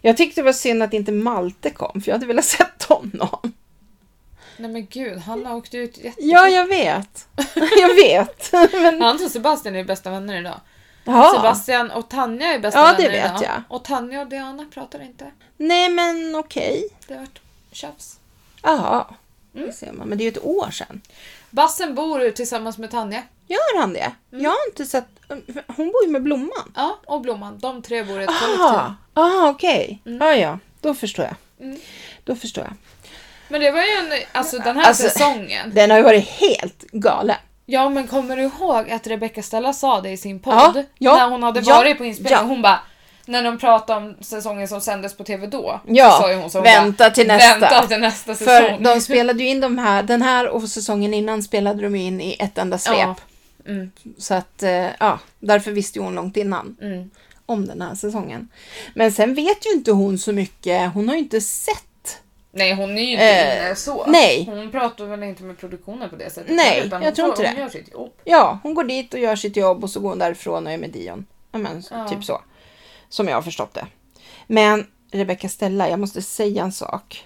S2: Jag tyckte det var synd att inte Malte kom, för jag hade velat sett honom.
S1: nej men gud, Hanna åkte ut jätte...
S2: Ja, jag vet. jag vet. Men,
S1: Han och Sebastian är bästa vänner idag.
S2: Mm. ja.
S1: Sebastian och Tanja är bästa
S2: Ja, det
S1: vänner idag.
S2: vet jag.
S1: Och Tanja och Diana pratar inte.
S2: Nej, men okej.
S1: Det har varit tjafs.
S2: Ja.
S1: Mm.
S2: Det ser man. Men det är ju ett år sedan.
S1: Bassen bor tillsammans med Tanja.
S2: Gör han det?
S1: Mm.
S2: Jag har inte sett... Hon bor ju med Blomman.
S1: Ja, och Blomman. De tre bor i ett kollektiv.
S2: Aha, aha okej. Ja, ja. Då förstår jag.
S1: Mm.
S2: Då förstår jag.
S1: Men det var ju en, alltså den här
S2: Alltså-
S1: säsongen.
S2: Den har ju varit helt galen.
S1: Ja men kommer du ihåg att Rebecca Stella sa det i sin podd?
S2: Ja, ja,
S1: när hon hade
S2: ja,
S1: varit på inspelning.
S2: ja.
S1: Hon bara när de pratade om säsongen som sändes på TV då.
S2: Ja,
S1: så sa ju hon så hon
S2: vänta
S1: bara,
S2: till nästa.
S1: Vänta till nästa säsong.
S2: För de spelade ju in de här, den här och säsongen innan spelade de ju in i ett enda svep.
S1: Ja. Mm,
S2: Så att, eh, ja, därför visste ju hon långt innan
S1: mm.
S2: om den här säsongen. Men sen vet ju inte hon så mycket, hon har ju inte sett.
S1: Nej, hon är ju inte
S2: Eh,
S1: inne så.
S2: nej.
S1: Hon pratar väl inte med produktionen på det sättet.
S2: Nej,
S1: utan
S2: jag
S1: hon
S2: tror
S1: får-
S2: inte det.
S1: Hon gör sitt jobb.
S2: Ja, hon går dit och gör sitt jobb och så går hon därifrån och är med Dion. Ja, men,
S1: Ja.
S2: Typ så. Som jag har förstått det. Men Rebecca Stella, jag måste säga en sak.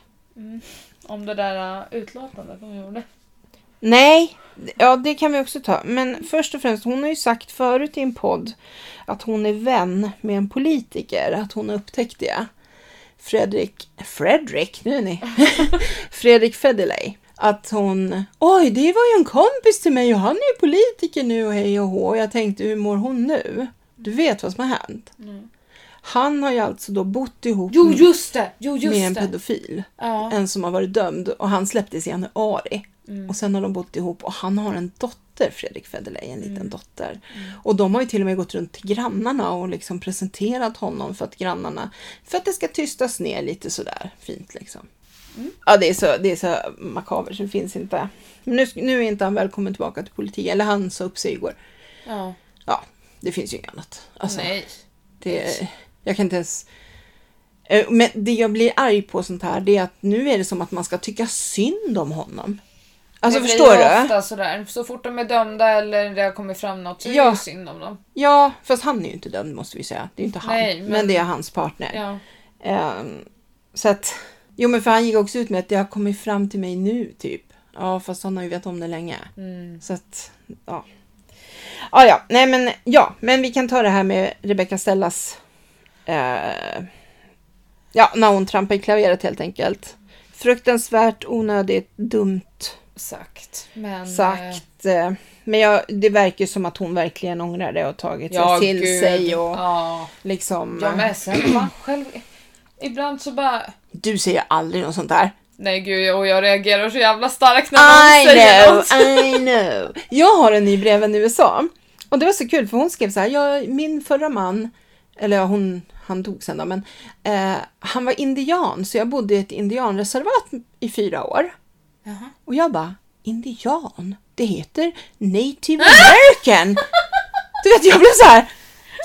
S1: Om det där uh, utlåtandet hon gjorde.
S2: Nej, ja det kan vi också ta. Men först och främst, hon har ju sagt förut i en podd att hon är vän med en politiker, att hon har upptäckt det. Fredrik, Fredrik, nu är ni. Fredrik Federley. Att hon, oj det var ju en kompis till mig och han är ju politiker nu och hej och hå. Och jag tänkte, hur mår hon nu? Du vet vad som har hänt?
S1: Mm.
S2: Han har ju alltså då bott ihop
S1: Jo, just det! Jo,
S2: med en
S1: just det.
S2: pedofil.
S1: Ja.
S2: En som har varit dömd och han släpptes i januari.
S1: Mm.
S2: Och sen har de bott ihop och han har en dotter, Fredrik Federley, en
S1: Mm.
S2: liten dotter. Och de har ju till och med gått runt till grannarna och liksom presenterat honom för att grannarna, för att det ska tystas ner lite sådär fint liksom.
S1: Mm.
S2: Ja, det är så, det är så makabert så det finns inte. Men nu, nu är inte han välkommen tillbaka till politiken, eller han sa upp sig igår.
S1: ja.
S2: Ja, det finns ju inget annat. Alltså,
S1: Nej.
S2: det, jag kan inte ens... Eh, Men det jag blir arg på sånt här, det är att nu är det som att man ska tycka synd om honom. Alltså
S1: det
S2: förstår
S1: blir ju
S2: du?
S1: ofta sådär. Så fort de är dömda eller det har kommit fram något så är det
S2: Ja.
S1: ju synd om dem.
S2: Ja, fast han är ju inte dömd måste vi säga. Det är ju inte han.
S1: Nej,
S2: men...
S1: men
S2: det är hans partner.
S1: Ja.
S2: Ehm, så att... Jo men för han gick också ut med att det har kommit fram till mig nu typ. Ja fast han har ju vetat om det länge.
S1: Mm.
S2: Så att, ja. Ja, ja, nej men ja, men vi kan ta det här med Rebecca Stellas, eh, ja, när hon trampar i klaveret helt enkelt. Fruktansvärt onödigt, dumt
S1: Sagt. Men, eh,
S2: sagt. eh, Men jag, det verkar ju som att hon verkligen ångrar det och tagit sig till
S1: eh, gud.
S2: sig och
S1: Ja,
S2: liksom.
S1: jag med. Sen man själv... Ibland så bara...
S2: Du säger aldrig något sånt där.
S1: Nej gud, och jag reagerar så jävla starkt när någon
S2: I
S1: säger
S2: know,
S1: något.
S2: I know. Jag har en ny brevvän i USA. Och det var så kul för hon skrev så här, jag, min förra man, eller ja, hon, han dog sen då, men eh, han var indian så jag bodde i ett indianreservat i fyra år.
S1: Jaha.
S2: Och jag bara, indian? Det heter native american. Du vet, jag blev så här.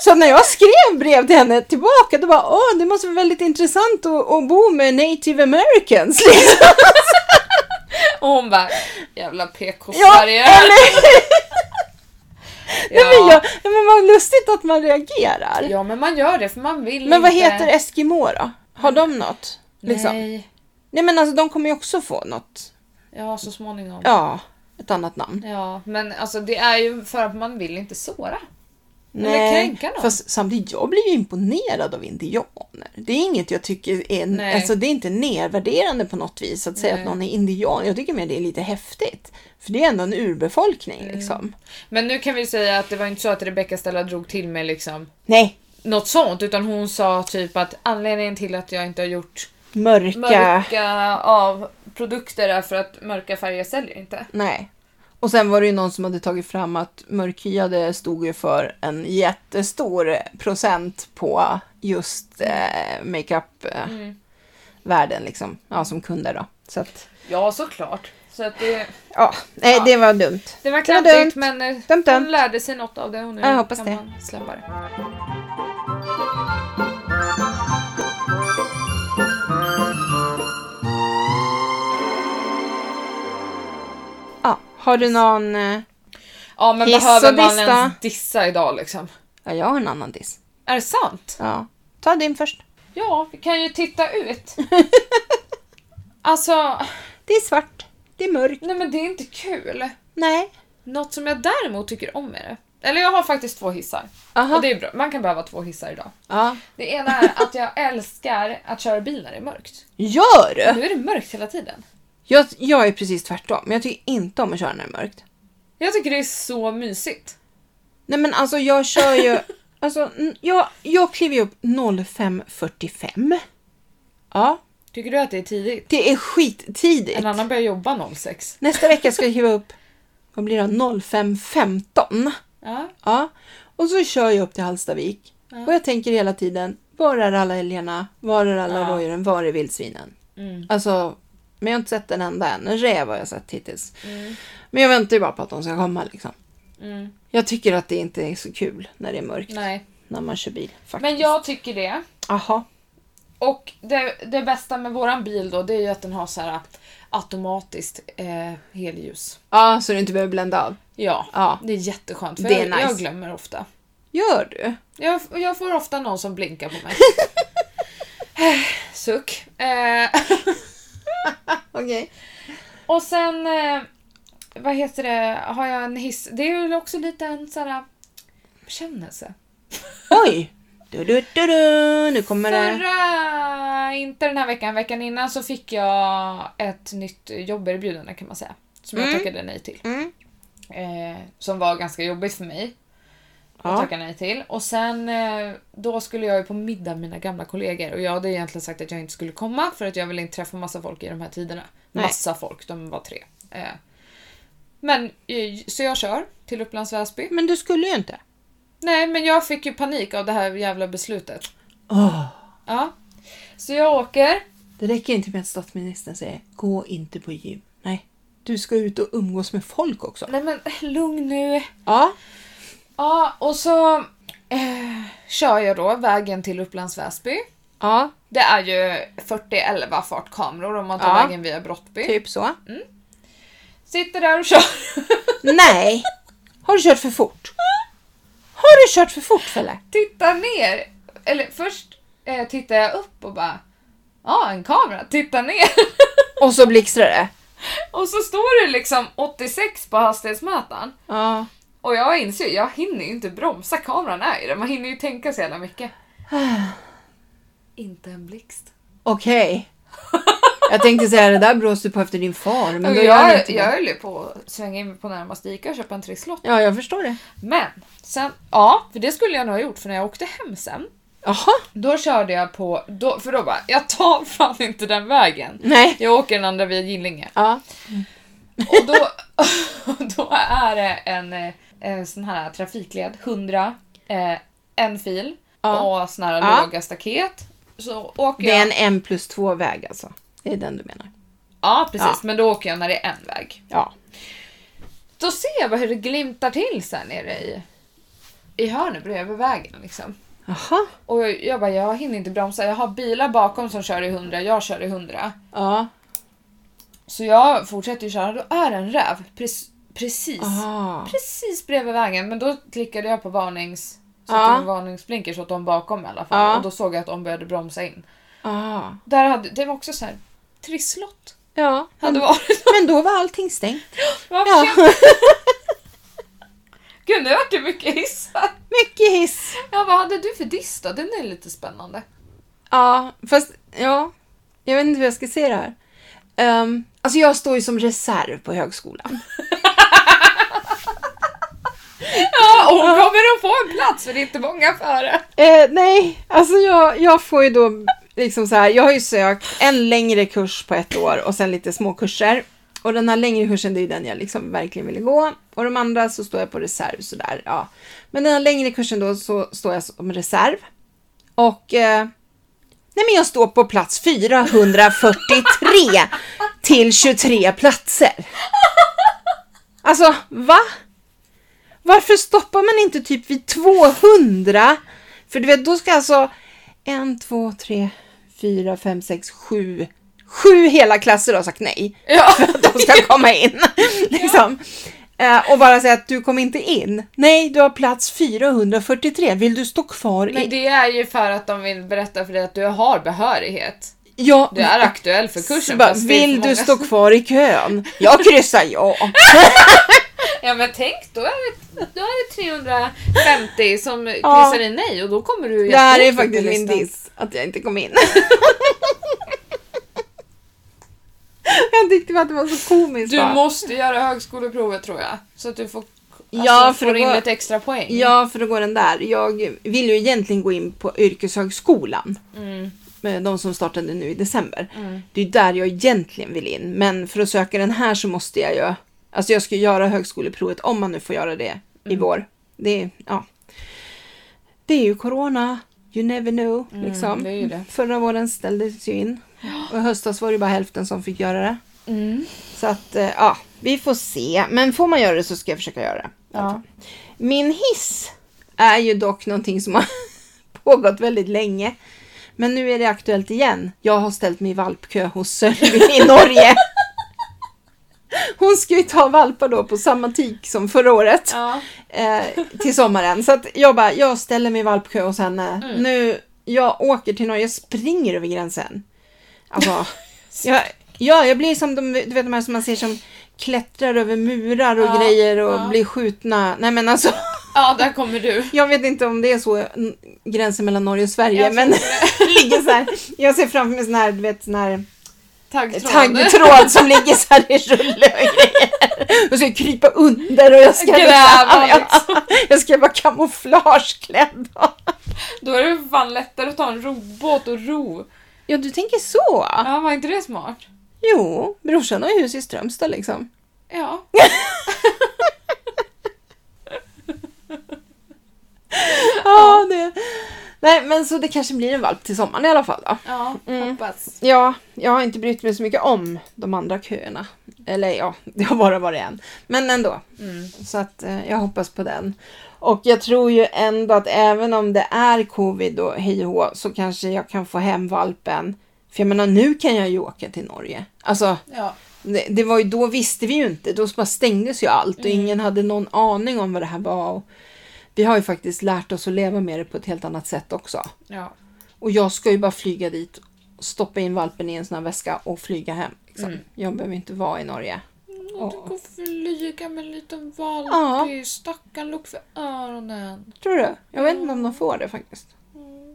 S2: Så när jag skrev brev till henne tillbaka, då bara, åh, det måste vara väldigt intressant att, att bo med native americans. Liksom.
S1: Och hon bara, jävla
S2: Ja,
S1: PK-Sverige.
S2: eller
S1: Ja.
S2: Nej, men, jag, nej, men vad lustigt att man reagerar.
S1: ja, men man gör det för man vill
S2: men vad
S1: inte.
S2: heter Eskimo då? Har de något? Liksom? Nej.
S1: Nej.
S2: men alltså de kommer ju också få något.
S1: Ja, så småningom. Ja.
S2: Ja, ett annat namn.
S1: men alltså det är ju för att man vill inte såra. Eller kränka någon.
S2: Fast samtidigt, jag blir ju imponerad av indianer. Det är inget jag tycker är,
S1: Nej.
S2: alltså det är inte nedvärderande på något vis att säga
S1: Nej.
S2: att någon är indian. Jag tycker mer det är lite häftigt. För det är ändå en urbefolkning
S1: Mm.
S2: liksom.
S1: Men nu kan vi säga att det var inte så att Rebecca Stella drog till med liksom
S2: Nej,
S1: något sånt, utan hon sa typ att anledningen till att jag inte har gjort
S2: mörka.
S1: mörka av produkter är för att mörka färger säljer inte.
S2: Nej. Och sen var det ju någon som hade tagit fram att mörkhyade stod ju för en jättestor procent på just eh, makeup-världen
S1: Mm.
S2: liksom. Ja, som kunder då. Så att,
S1: Ja, såklart. Så att det,
S2: ja. Nej,
S1: Ja.
S2: det var dumt.
S1: det var
S2: var
S1: klantigt
S2: dumt.
S1: men eh,
S2: Dumt, dumt.
S1: hon lärde sig något av det och nu
S2: Jag hoppas
S1: kan
S2: det.
S1: man släppa det.
S2: Ja, har du någon... eh,
S1: Ja men
S2: Hiss
S1: behöver
S2: och
S1: man
S2: dissa.
S1: ens dissa idag liksom?
S2: Ja, jag har en annan diss.
S1: Är det sant?
S2: Ja. Ta din först.
S1: Ja, vi kan ju titta ut. alltså,
S2: Det är svart. Det är mörkt.
S1: nej men det är inte kul.
S2: Nej.
S1: Något som jag däremot tycker om är det. Eller jag har faktiskt två hissar.
S2: Aha.
S1: Och det är bra, man kan behöva två hissar idag.
S2: Ja.
S1: Det ena är att jag älskar att köra bil när det är mörkt.
S2: Gör du?
S1: Nu är det mörkt hela tiden.
S2: Jag, jag är precis tvärtom. Jag tycker inte om att köra när det är mörkt.
S1: Jag tycker det är så mysigt.
S2: Nej men alltså jag kör ju... Alltså, n- jag, jag kliver ju upp 05.45. Ja,
S1: Tycker du att det är tidigt?
S2: det är skittidigt.
S1: En annan börjar jobba 06.
S2: Nästa vecka ska jag kliva upp, vad blir det, 05.15.
S1: Ja,
S2: Ja, och så kör jag upp till Hallstavik. Och jag tänker hela tiden, Var är alla älgarna? Var är alla
S1: Ja.
S2: rådjuren? Var är vildsvinen?
S1: Mm.
S2: Alltså, men jag har inte sett en enda än. En räv har jag sett hittills.
S1: Mm.
S2: Men jag väntar ju bara på att de ska komma liksom.
S1: Mm.
S2: Jag tycker att det inte är så kul när det är mörkt.
S1: Nej.
S2: När man kör bil. Faktiskt.
S1: Men jag tycker det.
S2: Aha.
S1: Och det, det bästa med våran bil då, det är ju att den har så här äh, automatiskt eh, helljus.
S2: Ja, så du inte behöver blända av.
S1: Ja,
S2: Ja.
S1: det är jätteskönt. För
S2: Det är
S1: jag, jag
S2: nice.
S1: glömmer ofta.
S2: Gör du?
S1: Jag, jag får ofta någon som blinkar på mig. Suck. Eh,
S2: Okej.
S1: och sen, eh, vad heter det, har jag en hiss. Det är ju också lite en sån här bekännelse.
S2: Oj! Du, du, du, du. Nu kommer det.
S1: Förra, inte den här veckan, veckan innan så fick jag ett nytt jobberbjudande kan man säga. Som jag
S2: Mm.
S1: tackade nej till.
S2: Mm.
S1: Eh, som var ganska jobbigt för mig att
S2: Ja.
S1: tacka nej till. Och sen eh, då skulle jag ju på middag med mina gamla kollegor och jag hade egentligen sagt att jag inte skulle komma för att jag ville inte träffa massa folk i de här tiderna.
S2: Nej.
S1: Massa folk, de var tre. Eh, men eh, så jag kör till Upplands Väsby.
S2: Men du skulle ju inte.
S1: Nej men jag fick ju panik av det här jävla beslutet.
S2: Åh,
S1: Ja. Så jag åker.
S2: det räcker inte med att statsministern säger gå inte på gym. Nej. Du ska ut och umgås med folk också.
S1: Nej men lugn nu.
S2: Ja.
S1: Ja och så eh, kör jag då vägen till Upplands Väsby.
S2: Ja,
S1: Det är ju 40-11 fartkameror om man tar
S2: Ja.
S1: vägen via Brottby.
S2: typ så.
S1: Sitter där och kör.
S2: Nej! Har du kört för fort? Har du kört för fort Felle?
S1: tittar ner. Eller först eh, tittar jag upp och bara Ja, ah, en kamera. Titta ner.
S2: Och så blixtrar det.
S1: och så står det liksom 86 på hastighetsmätaren.
S2: Ja.
S1: Och jag inser ju, jag hinner ju inte bromsa. Kameran är ju där. Man hinner ju tänka så jävla mycket. inte en blixt.
S2: Okej. Jag tänkte säga det där blåste du på efter din far, men då
S1: jag,
S2: gör du
S1: jag,
S2: inte det.
S1: höll ju på att svänga in på närmaste Ica och köpa en trisslott.
S2: Ja, jag förstår det.
S1: Men sen, ja, för det skulle jag nog ha gjort för när jag åkte hem sen.
S2: Jaha.
S1: Då körde jag på, då, för då bara, jag tar fan inte den vägen.
S2: Nej.
S1: Jag åker den andra via Gillinge.
S2: Ja.
S1: Och då, då är det en, eh, en sån här trafikled, 100, eh, en fil
S2: Ja.
S1: och sån här
S2: Ja.
S1: låga staket. Så åker
S2: Det
S1: jag...
S2: är en M plus 2 väg alltså. Det är den du menar.
S1: Ja precis,
S2: Ja.
S1: men då åker jag när det är en väg.
S2: Ja.
S1: Då ser jag bara hur det glimtar till sen nere i, i hörnet bredvid vägen liksom.
S2: Jaha.
S1: Och jag, jag bara, jag hinner inte bromsa. Jag har bilar bakom som kör i 100, jag kör i 100.
S2: Ja.
S1: Så jag fortsätter ju köra, då är det en räv precis, precis,
S2: Aha.
S1: precis bredvid vägen. Men då klickade jag på varnings, så
S2: Ja.
S1: att det var varningsblinkers åt dem bakom i alla fall.
S2: Ja.
S1: Och då såg jag att de började bromsa in.
S2: Ja.
S1: Där hade, det var också så här trisslott.
S2: Ja.
S1: Hade varit.
S2: Men då var allting stängt.
S1: Varför?
S2: Mm. Ja.
S1: Gud nu vart det mycket hissar.
S2: Mycket hiss.
S1: Ja vad hade du för diss då? Den är lite spännande.
S2: Ja, fast ja. Jag vet inte hur jag ska se det här. Um, alltså jag står ju som reserv på högskolan.
S1: Ja, och hon kommer att få en plats för det är inte många före.
S2: Eh, nej, alltså jag, jag får ju då liksom så här. Jag har ju sökt en längre kurs på ett år och sen lite små kurser. Och den här längre kursen, det är ju den jag liksom verkligen ville gå. Och de andra så står jag på reserv sådär. Ja. Men den här längre kursen då så står jag som reserv. Och eh, nej men jag står på plats 443 till 23 platser. Alltså, va? Varför stoppar man inte typ vid 200? För du vet, då ska alltså en, två, tre, fyra, fem, sex, sju, sju hela klasser ha sagt nej.
S1: Ja.
S2: De ska komma in. liksom. Eh, och bara säga att du kom inte in. Nej, du har plats 443. Vill du stå kvar
S1: Men
S2: i...
S1: det är ju för att de vill berätta för dig att du har behörighet.
S2: Ja,
S1: Du är aktuell för
S2: Så
S1: kursen.
S2: bara,
S1: fast det är
S2: vill
S1: för
S2: du
S1: många
S2: stå kvar i kön? Jag kryssar ja.
S1: Ja men tänk då är det, då är det 350 som
S2: Ja.
S1: kryssar i nej och då kommer du
S2: Det här är
S1: jättehögt upp
S2: faktiskt
S1: på
S2: min
S1: listan.
S2: diss, att jag inte kom in. jag tyckte bara att det var så komiskt.
S1: Du
S2: bara.
S1: måste göra högskoleprovet tror jag. Så att du får, alltså,
S2: Ja, för
S1: får
S2: det
S1: in
S2: var-
S1: lite extra poäng.
S2: Ja, för då går den där. Jag vill ju egentligen gå in på yrkeshögskolan.
S1: Mm.
S2: med De som startade nu i december. Det är där jag egentligen vill in. Men för att söka den här så måste jag ju... Alltså jag ska ju göra högskoleprovet
S1: Mm.
S2: om man nu får göra det i vår. Det, är- ja. det är ju corona. You never know.
S1: Mm,
S2: liksom.
S1: det är ju det.
S2: Förra våren ställdes ju in. Och i höstas var det bara hälften som fick göra det.
S1: Mm.
S2: Så att, eh, ja, vi får se. Men får man göra det så ska jag försöka göra det. i alla
S1: Ja.
S2: fall. Min hiss är ju dock någonting som har pågått väldigt länge. Men nu är det aktuellt igen. Jag har ställt mig i valpkö hos Sölvi i Norge. Hon ska ju ta valpar då på samma tik som förra året
S1: Ja.
S2: eh, till sommaren. Så att jag bara, jag ställer mig i valpkö hos henne.
S1: Mm.
S2: Nu, jag åker till Norge, jag springer över gränsen. Alltså, jag, ja, jag blir som de, du vet de här som man ser som klättrar över murar och
S1: Ja,
S2: grejer och
S1: ja.
S2: blir skjutna. Nej men alltså,
S1: ja, där kommer du.
S2: jag vet inte om det är så n- gränsen mellan Norge och Sverige,
S1: Jag
S2: men ligger så här, jag ser framför mig sån här, du vet sån här
S1: Taggtråd.
S2: taggtråd som ligger så här i rulle och grejer. Och så ska jag krypa under och jag ska
S1: Gräva,
S2: liksom. Jag ska vara kamouflageklädd.
S1: Då är det fan lättare att ta en robåt och ro.
S2: Ja, du tänker så?
S1: Ja, var inte det smart?
S2: Jo, brorsan har ju hus i Strömstad liksom.
S1: Ja.
S2: Ja, det... Nej, men så det kanske blir en valp till sommaren i alla fall då.
S1: Ja,
S2: Mm.
S1: hoppas.
S2: Ja, jag har inte brytt mig så mycket om de andra köerna. Eller ja, det har bara varit en. Men ändå. Så att eh, jag hoppas på den. Och jag tror ju ändå att även om det är covid och hej och hå, så kanske jag kan få hem valpen. För jag menar nu kan jag ju åka till Norge. Alltså,
S1: Ja.
S2: det, det var ju då visste vi ju inte. Då bara stängdes ju allt och ingen hade någon aning om vad det här var. Och vi har ju faktiskt lärt oss att leva med det på ett helt annat sätt också.
S1: Ja.
S2: Och jag ska ju bara flyga dit, stoppa in valpen i en sån här väska och flyga hem. Liksom. Jag behöver inte vara i Norge.
S1: Och du går flyga med en liten valp
S2: Ja.
S1: i stackarn, look för öronen.
S2: Tror du? Jag vet inte om de får det faktiskt.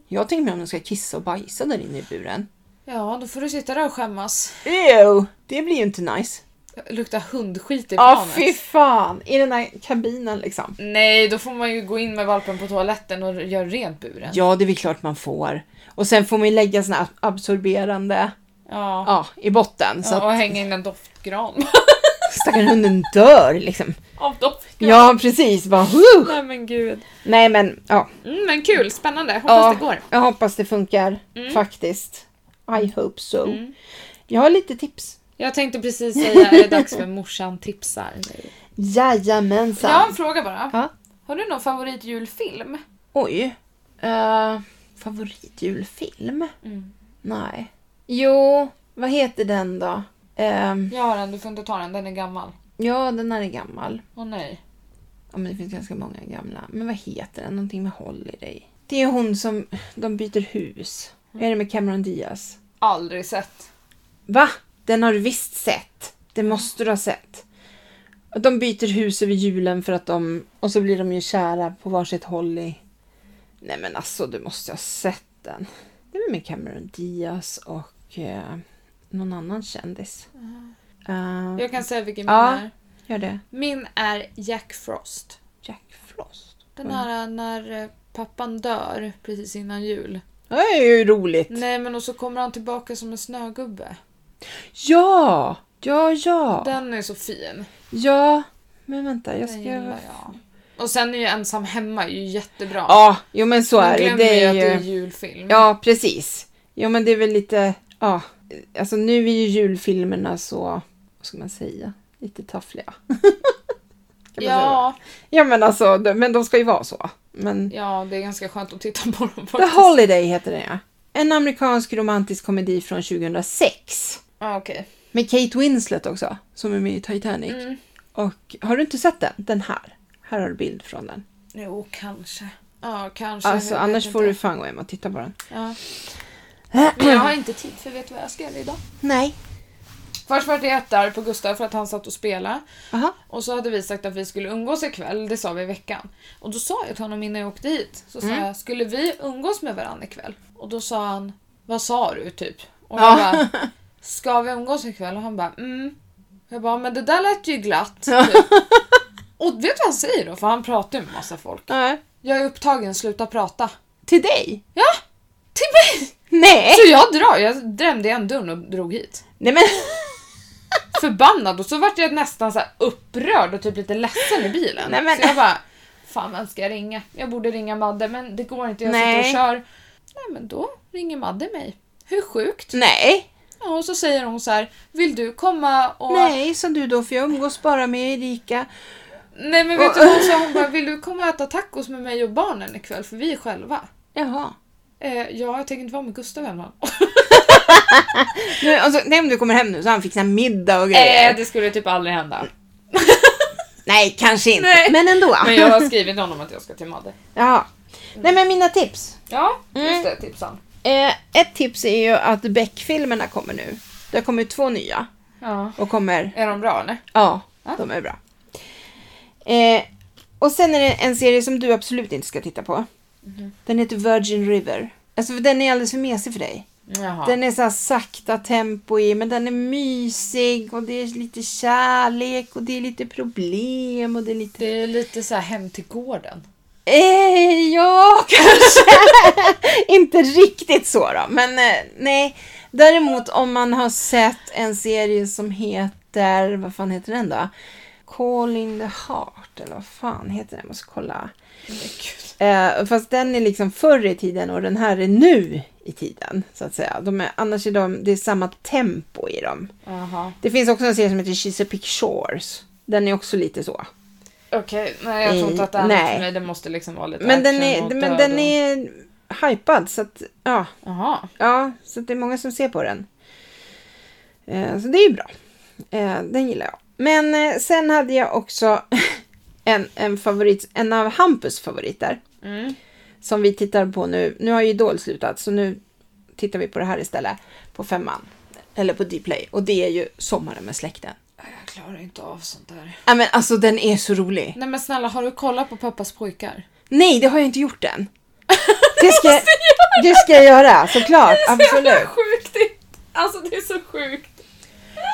S2: Jag tänker mig om de ska kissa och bajsa där inne i buren.
S1: Ja, då får du sitta där och skämmas.
S2: Ew! Det blir ju inte nice.
S1: Det Luktar hundskit i
S2: Ja,
S1: planet.
S2: fy fan! I den där kabinen liksom.
S1: Nej, då får man ju gå in med valpen på toaletten och göra rent buren.
S2: Ja, det är väl klart man får. Och sen får man ju lägga såna här absorberande
S1: Ja.
S2: ja, i botten så
S1: Ja,
S2: att
S1: och hänga in en doftgran.
S2: stackars hunden dör liksom.
S1: Av doftgran.
S2: Ja, precis. Bara, huh.
S1: Nej men gud.
S2: Nej, men ja.
S1: Mm, men kul, spännande. Hoppas
S2: Ja,
S1: det går.
S2: Jag hoppas det funkar faktiskt. I hope so. Jag har lite tips.
S1: Jag tänkte precis säga, är det dags för morsan tipsar nu? Jag
S2: Jajamensan.
S1: har en fråga bara.
S2: Ja.
S1: Har du någon favoritjulfilm?
S2: Oj. Eh, favoritjulfilm?
S1: Mm.
S2: Nej. Jo, vad heter den då? Ehm,
S1: Jag har en, du får inte ta den, den är gammal.
S2: ja, den här är gammal.
S1: Åh nej.
S2: Ja, men det finns ganska många gamla. Men vad heter den? Någonting med håll i dig. Det är hon som... De byter hus. Är det med Cameron Diaz?
S1: Aldrig sett.
S2: Va? Den har du visst sett. Det måste du ha sett. De byter hus över julen för att de... Och så blir de ju kära på varsitt håll i... Nej men alltså, du måste ha sett den. Det är med Cameron Diaz och eh, någon annan kändis. Eh,
S1: Ah. Jag kan säga vilken
S2: Ja.
S1: min är.
S2: Gör det.
S1: Min är Jack Frost.
S2: Jack Frost.
S1: Den här när eh, pappan dör precis innan jul.
S2: Det är ju roligt.
S1: Nej men och så kommer han tillbaka som en snögubbe.
S2: Ja! Ja, ja.
S1: Den är så fin.
S2: Ja, men vänta. Jag
S1: Den
S2: ska...
S1: gillar jag. Och sen är ju Ensam hemma ju jättebra.
S2: Ja, jo men så
S1: Man
S2: är det.
S1: glömmer
S2: Det
S1: ju att
S2: är
S1: det är
S2: ju...
S1: julfilm.
S2: Ja, precis. Jo men det är väl lite... Ja, alltså nu är ju julfilmerna så... Vad ska man säga? Lite taffliga. Kan man säga.
S1: ja,
S2: ja men alltså, de, men de ska ju vara så. Men...
S1: ja, det är ganska skönt att titta på dem
S2: The
S1: faktiskt.
S2: Holiday heter den ja. En amerikansk romantisk komedi från 2006.
S1: Ja, okej.
S2: Med Kate Winslet också, som är med i Titanic.
S1: Mm.
S2: Och har du inte sett den? Den här. Här har du bild från den.
S1: Jo, kanske. Ja, kanske.
S2: Alltså
S1: Jag vet
S2: annars
S1: inte.
S2: får du fan gå hem och titta på den.
S1: Ja. Men jag har inte tid för vet du vad jag ska göra idag?
S2: Nej.
S1: Först var jag där på Gustav för att han satt och spelade.
S2: Aha.
S1: Och så hade vi sagt att vi skulle umgås ikväll, det sa vi i veckan. Och då sa jag till honom innan jag åkte hit, så sa jag, skulle vi umgås med varandra ikväll? Och då sa han, vad sa du typ? Och jag
S2: Ja.
S1: bara, ska vi umgås ikväll? Och han bara, mm. Jag bara, men det där lät ju glatt. Typ. Och vet du vad han säger då? För han pratar ju med massa folk.
S2: Nej.
S1: Jag är upptagen, sluta prata.
S2: Till dig?
S1: Ja, till mig!
S2: Nej!
S1: Så jag drar, jag drämde igen dörren och drog hit.
S2: Nej men
S1: förbannad och så vart jag nästan så här upprörd och typ lite ledsen i bilen.
S2: Nej, men-
S1: Så jag bara, fan vem ska jag ringa? Jag borde ringa Madde men det går inte, jag
S2: Nej.
S1: sitter och kör. Nej men då ringer Madde mig. Hur sjukt?
S2: Nej,
S1: Ja, och så säger hon så här, vill du komma och...
S2: nej, sa du då, för jag umgås bara med Erika.
S1: Nej, men vet du vad hon sa? Hon bara, vill du komma och äta tacos med mig och barnen ikväll? För vi är själva.
S2: Jaha.
S1: Eh, ja, jag tänker inte vara med Gustav hemma.
S2: Nu, alltså, nej, om du kommer hem nu så har han fixat middag och grejer.
S1: Eh, det skulle typ aldrig hända.
S2: Nej, kanske inte.
S1: Nej.
S2: Men ändå.
S1: Men jag har skrivit honom att jag ska till Madde.
S2: Ja. Nej, men mina tips.
S1: Ja,
S2: Mm.
S1: just det. Tipsan.
S2: Eh, ett tips är ju att Beck-filmerna kommer nu. Det har kommit två nya.
S1: Ja.
S2: Och kommer
S1: Är de bra eller?
S2: Ja,
S1: Ja.
S2: de är bra. Eh, och sen är det en serie som du absolut inte ska titta på. Den heter Virgin River. Alltså för den är alldeles för mesig för dig.
S1: Jaha.
S2: Den är så här sakta tempo i, men den är mysig och det är lite kärlek och det är lite problem och det är lite...
S1: Det är lite så här hem till gården.
S2: Eh, ja, kanske. inte riktigt så då, men eh, nej. Däremot om man har sett en serie som heter, vad fan heter den då? Calling the Heart, eller vad fan heter den? Jag måste kolla.
S1: Men gud.
S2: Eh, fast den är liksom förr i tiden och den här är nu i tiden, så att säga. De är, annars är de, det är samma tempo i dem.
S1: Jaha.
S2: Det finns också en serie som heter Chesapeake Shores. Den är också lite så.
S1: Okej, nej jag tror inte att det är
S2: Mm, Nej.
S1: något för mig. Det måste liksom vara lite
S2: Men den
S1: action
S2: är,
S1: och
S2: men
S1: död
S2: den
S1: och-
S2: är hypad, så att, ja.
S1: Jaha.
S2: Ja, så att det är många som ser på den. Eh, så det är ju bra. Eh, den gillar jag. Men eh, sen hade jag också en, en favorit, en av Hampus favoriter.
S1: Mm.
S2: Som vi tittar på nu. Nu har ju Idol slutat så nu tittar vi på det här istället. På femman. Eller på Dplay. Och det är ju Sommaren med släkten.
S1: Jag klarar inte av sånt där.
S2: Ja men alltså den är så rolig.
S1: Nej men snälla, har du kollat på pappas pojkar?
S2: Nej, det har jag inte gjort än. Det ska, jag, det ska jag göra, såklart. Absolut.
S1: sjukt! Det- Alltså det är så sjukt.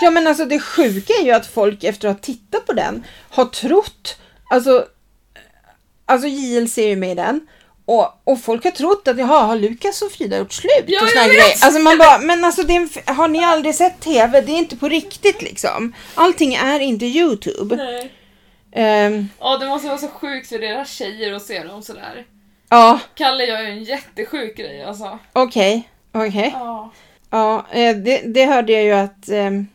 S2: Ja men alltså det sjuka är ju att folk efter att ha tittat på den har trott, alltså, alltså JLC är ju med i den. Och, och folk har trott att jaha, har Lukas och Frida gjort slut?
S1: Ja,
S2: och
S1: jag
S2: såna
S1: vet.
S2: grejer. Alltså man bara, men alltså det är en, f- har ni aldrig sett TV? Det är inte på riktigt liksom. Allting är inte YouTube.
S1: Nej.
S2: Ehm,
S1: Ja, det måste vara så sjukt för deras tjejer att se dem sådär.
S2: ja,
S1: Kalle gör ju en jättesjuk grej alltså.
S2: okej, okej.
S1: Ja.
S2: Ja, eh, det, det hörde jag ju att ehm,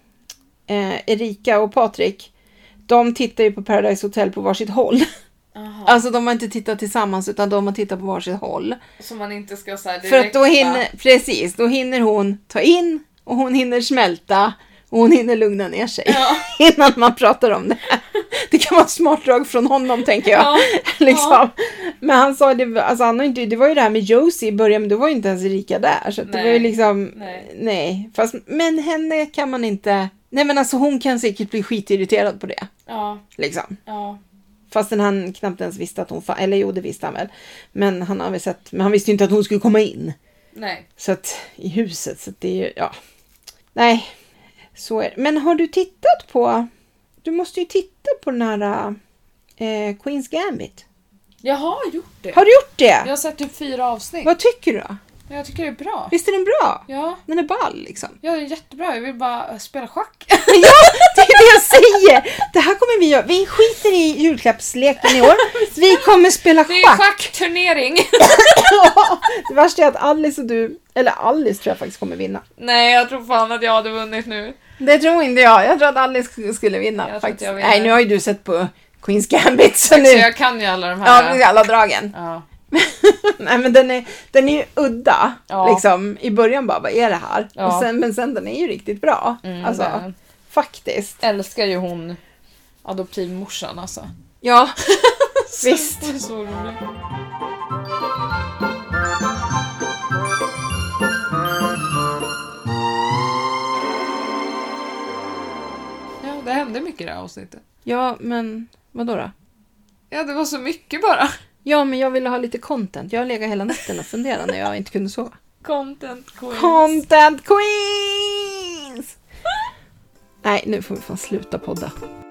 S2: eh, Erika och Patrik, de tittar ju på Paradise Hotel på varsitt håll.
S1: Aha.
S2: Alltså de har inte tittat tillsammans utan de har tittat på varsitt håll.
S1: Som man inte ska säga direkt.
S2: För att då
S1: va?
S2: hinner, precis, då hinner hon ta in och hon hinner smälta och hon hinner lugna ner sig
S1: Ja.
S2: innan man pratar om det. Det kan vara ett smart drag från honom tänker jag.
S1: Ja.
S2: liksom. Men han sa det, alltså han har inte, det var ju det här med Josie i början men då var ju inte ens Erika där. Så att det
S1: Nej.
S2: var ju liksom, nej.
S1: Nej.
S2: Fast, men henne kan man inte, nej men alltså hon kan säkert bli skitirriterad på det.
S1: Ja,
S2: Liksom.
S1: ja.
S2: Fastän han knappt ens visste att hon fanns. Eller jo, det visste han väl. Men han, har väl sett, men han visste ju inte att hon skulle komma in.
S1: Nej.
S2: Så att, i huset. Så att det är ju, ja. Nej, så är det. Men har du tittat på... Du måste ju titta på den här eh, Queens Gambit.
S1: Jag har gjort det.
S2: Har du gjort det?
S1: Jag har sett typ fyra avsnitt.
S2: Vad tycker du då?
S1: Men jag tycker det är bra.
S2: Visst är den bra?
S1: Ja,
S2: Den är ball liksom.
S1: ja det är jättebra. Jag vill bara äh, spela schack.
S2: ja, det är det jag säger! Det här kommer vi göra. Vi skiter i julklappsleken i år. Vi kommer spela
S1: Det är
S2: schack.
S1: schackturnering.
S2: Det värsta är att Alice och du, eller Alice tror jag faktiskt kommer vinna.
S1: Nej, jag tror fan att jag hade vunnit nu.
S2: Det tror inte jag. Jag tror att Alice sk- skulle vinna.
S1: Jag tror
S2: faktiskt.
S1: att jag vinner.
S2: Nej, nu har ju du sett på Queens Gambit så nu...
S1: Så jag kan ju alla de
S2: Ja,
S1: här.
S2: precis, alla dragen.
S1: Ja.
S2: Nej, men den är, den är ju udda.
S1: Ja.
S2: Liksom. I början bara, vad är det här?
S1: Ja.
S2: Och sen, men sen den är ju riktigt bra.
S1: Mm,
S2: alltså,
S1: det-
S2: faktiskt.
S1: älskar ju hon adoptivmorsan alltså.
S2: Ja, visst.
S1: Det är så roligt. Ja, det hände mycket i det här avsnittet.
S2: Ja, men vadå då?
S1: Ja, det var så mycket bara.
S2: Ja, men jag ville ha lite content. Jag har legat hela natten och funderat när jag inte kunde sova.
S1: Content queens.
S2: Content Queens! Nej, nu får vi fan sluta podda.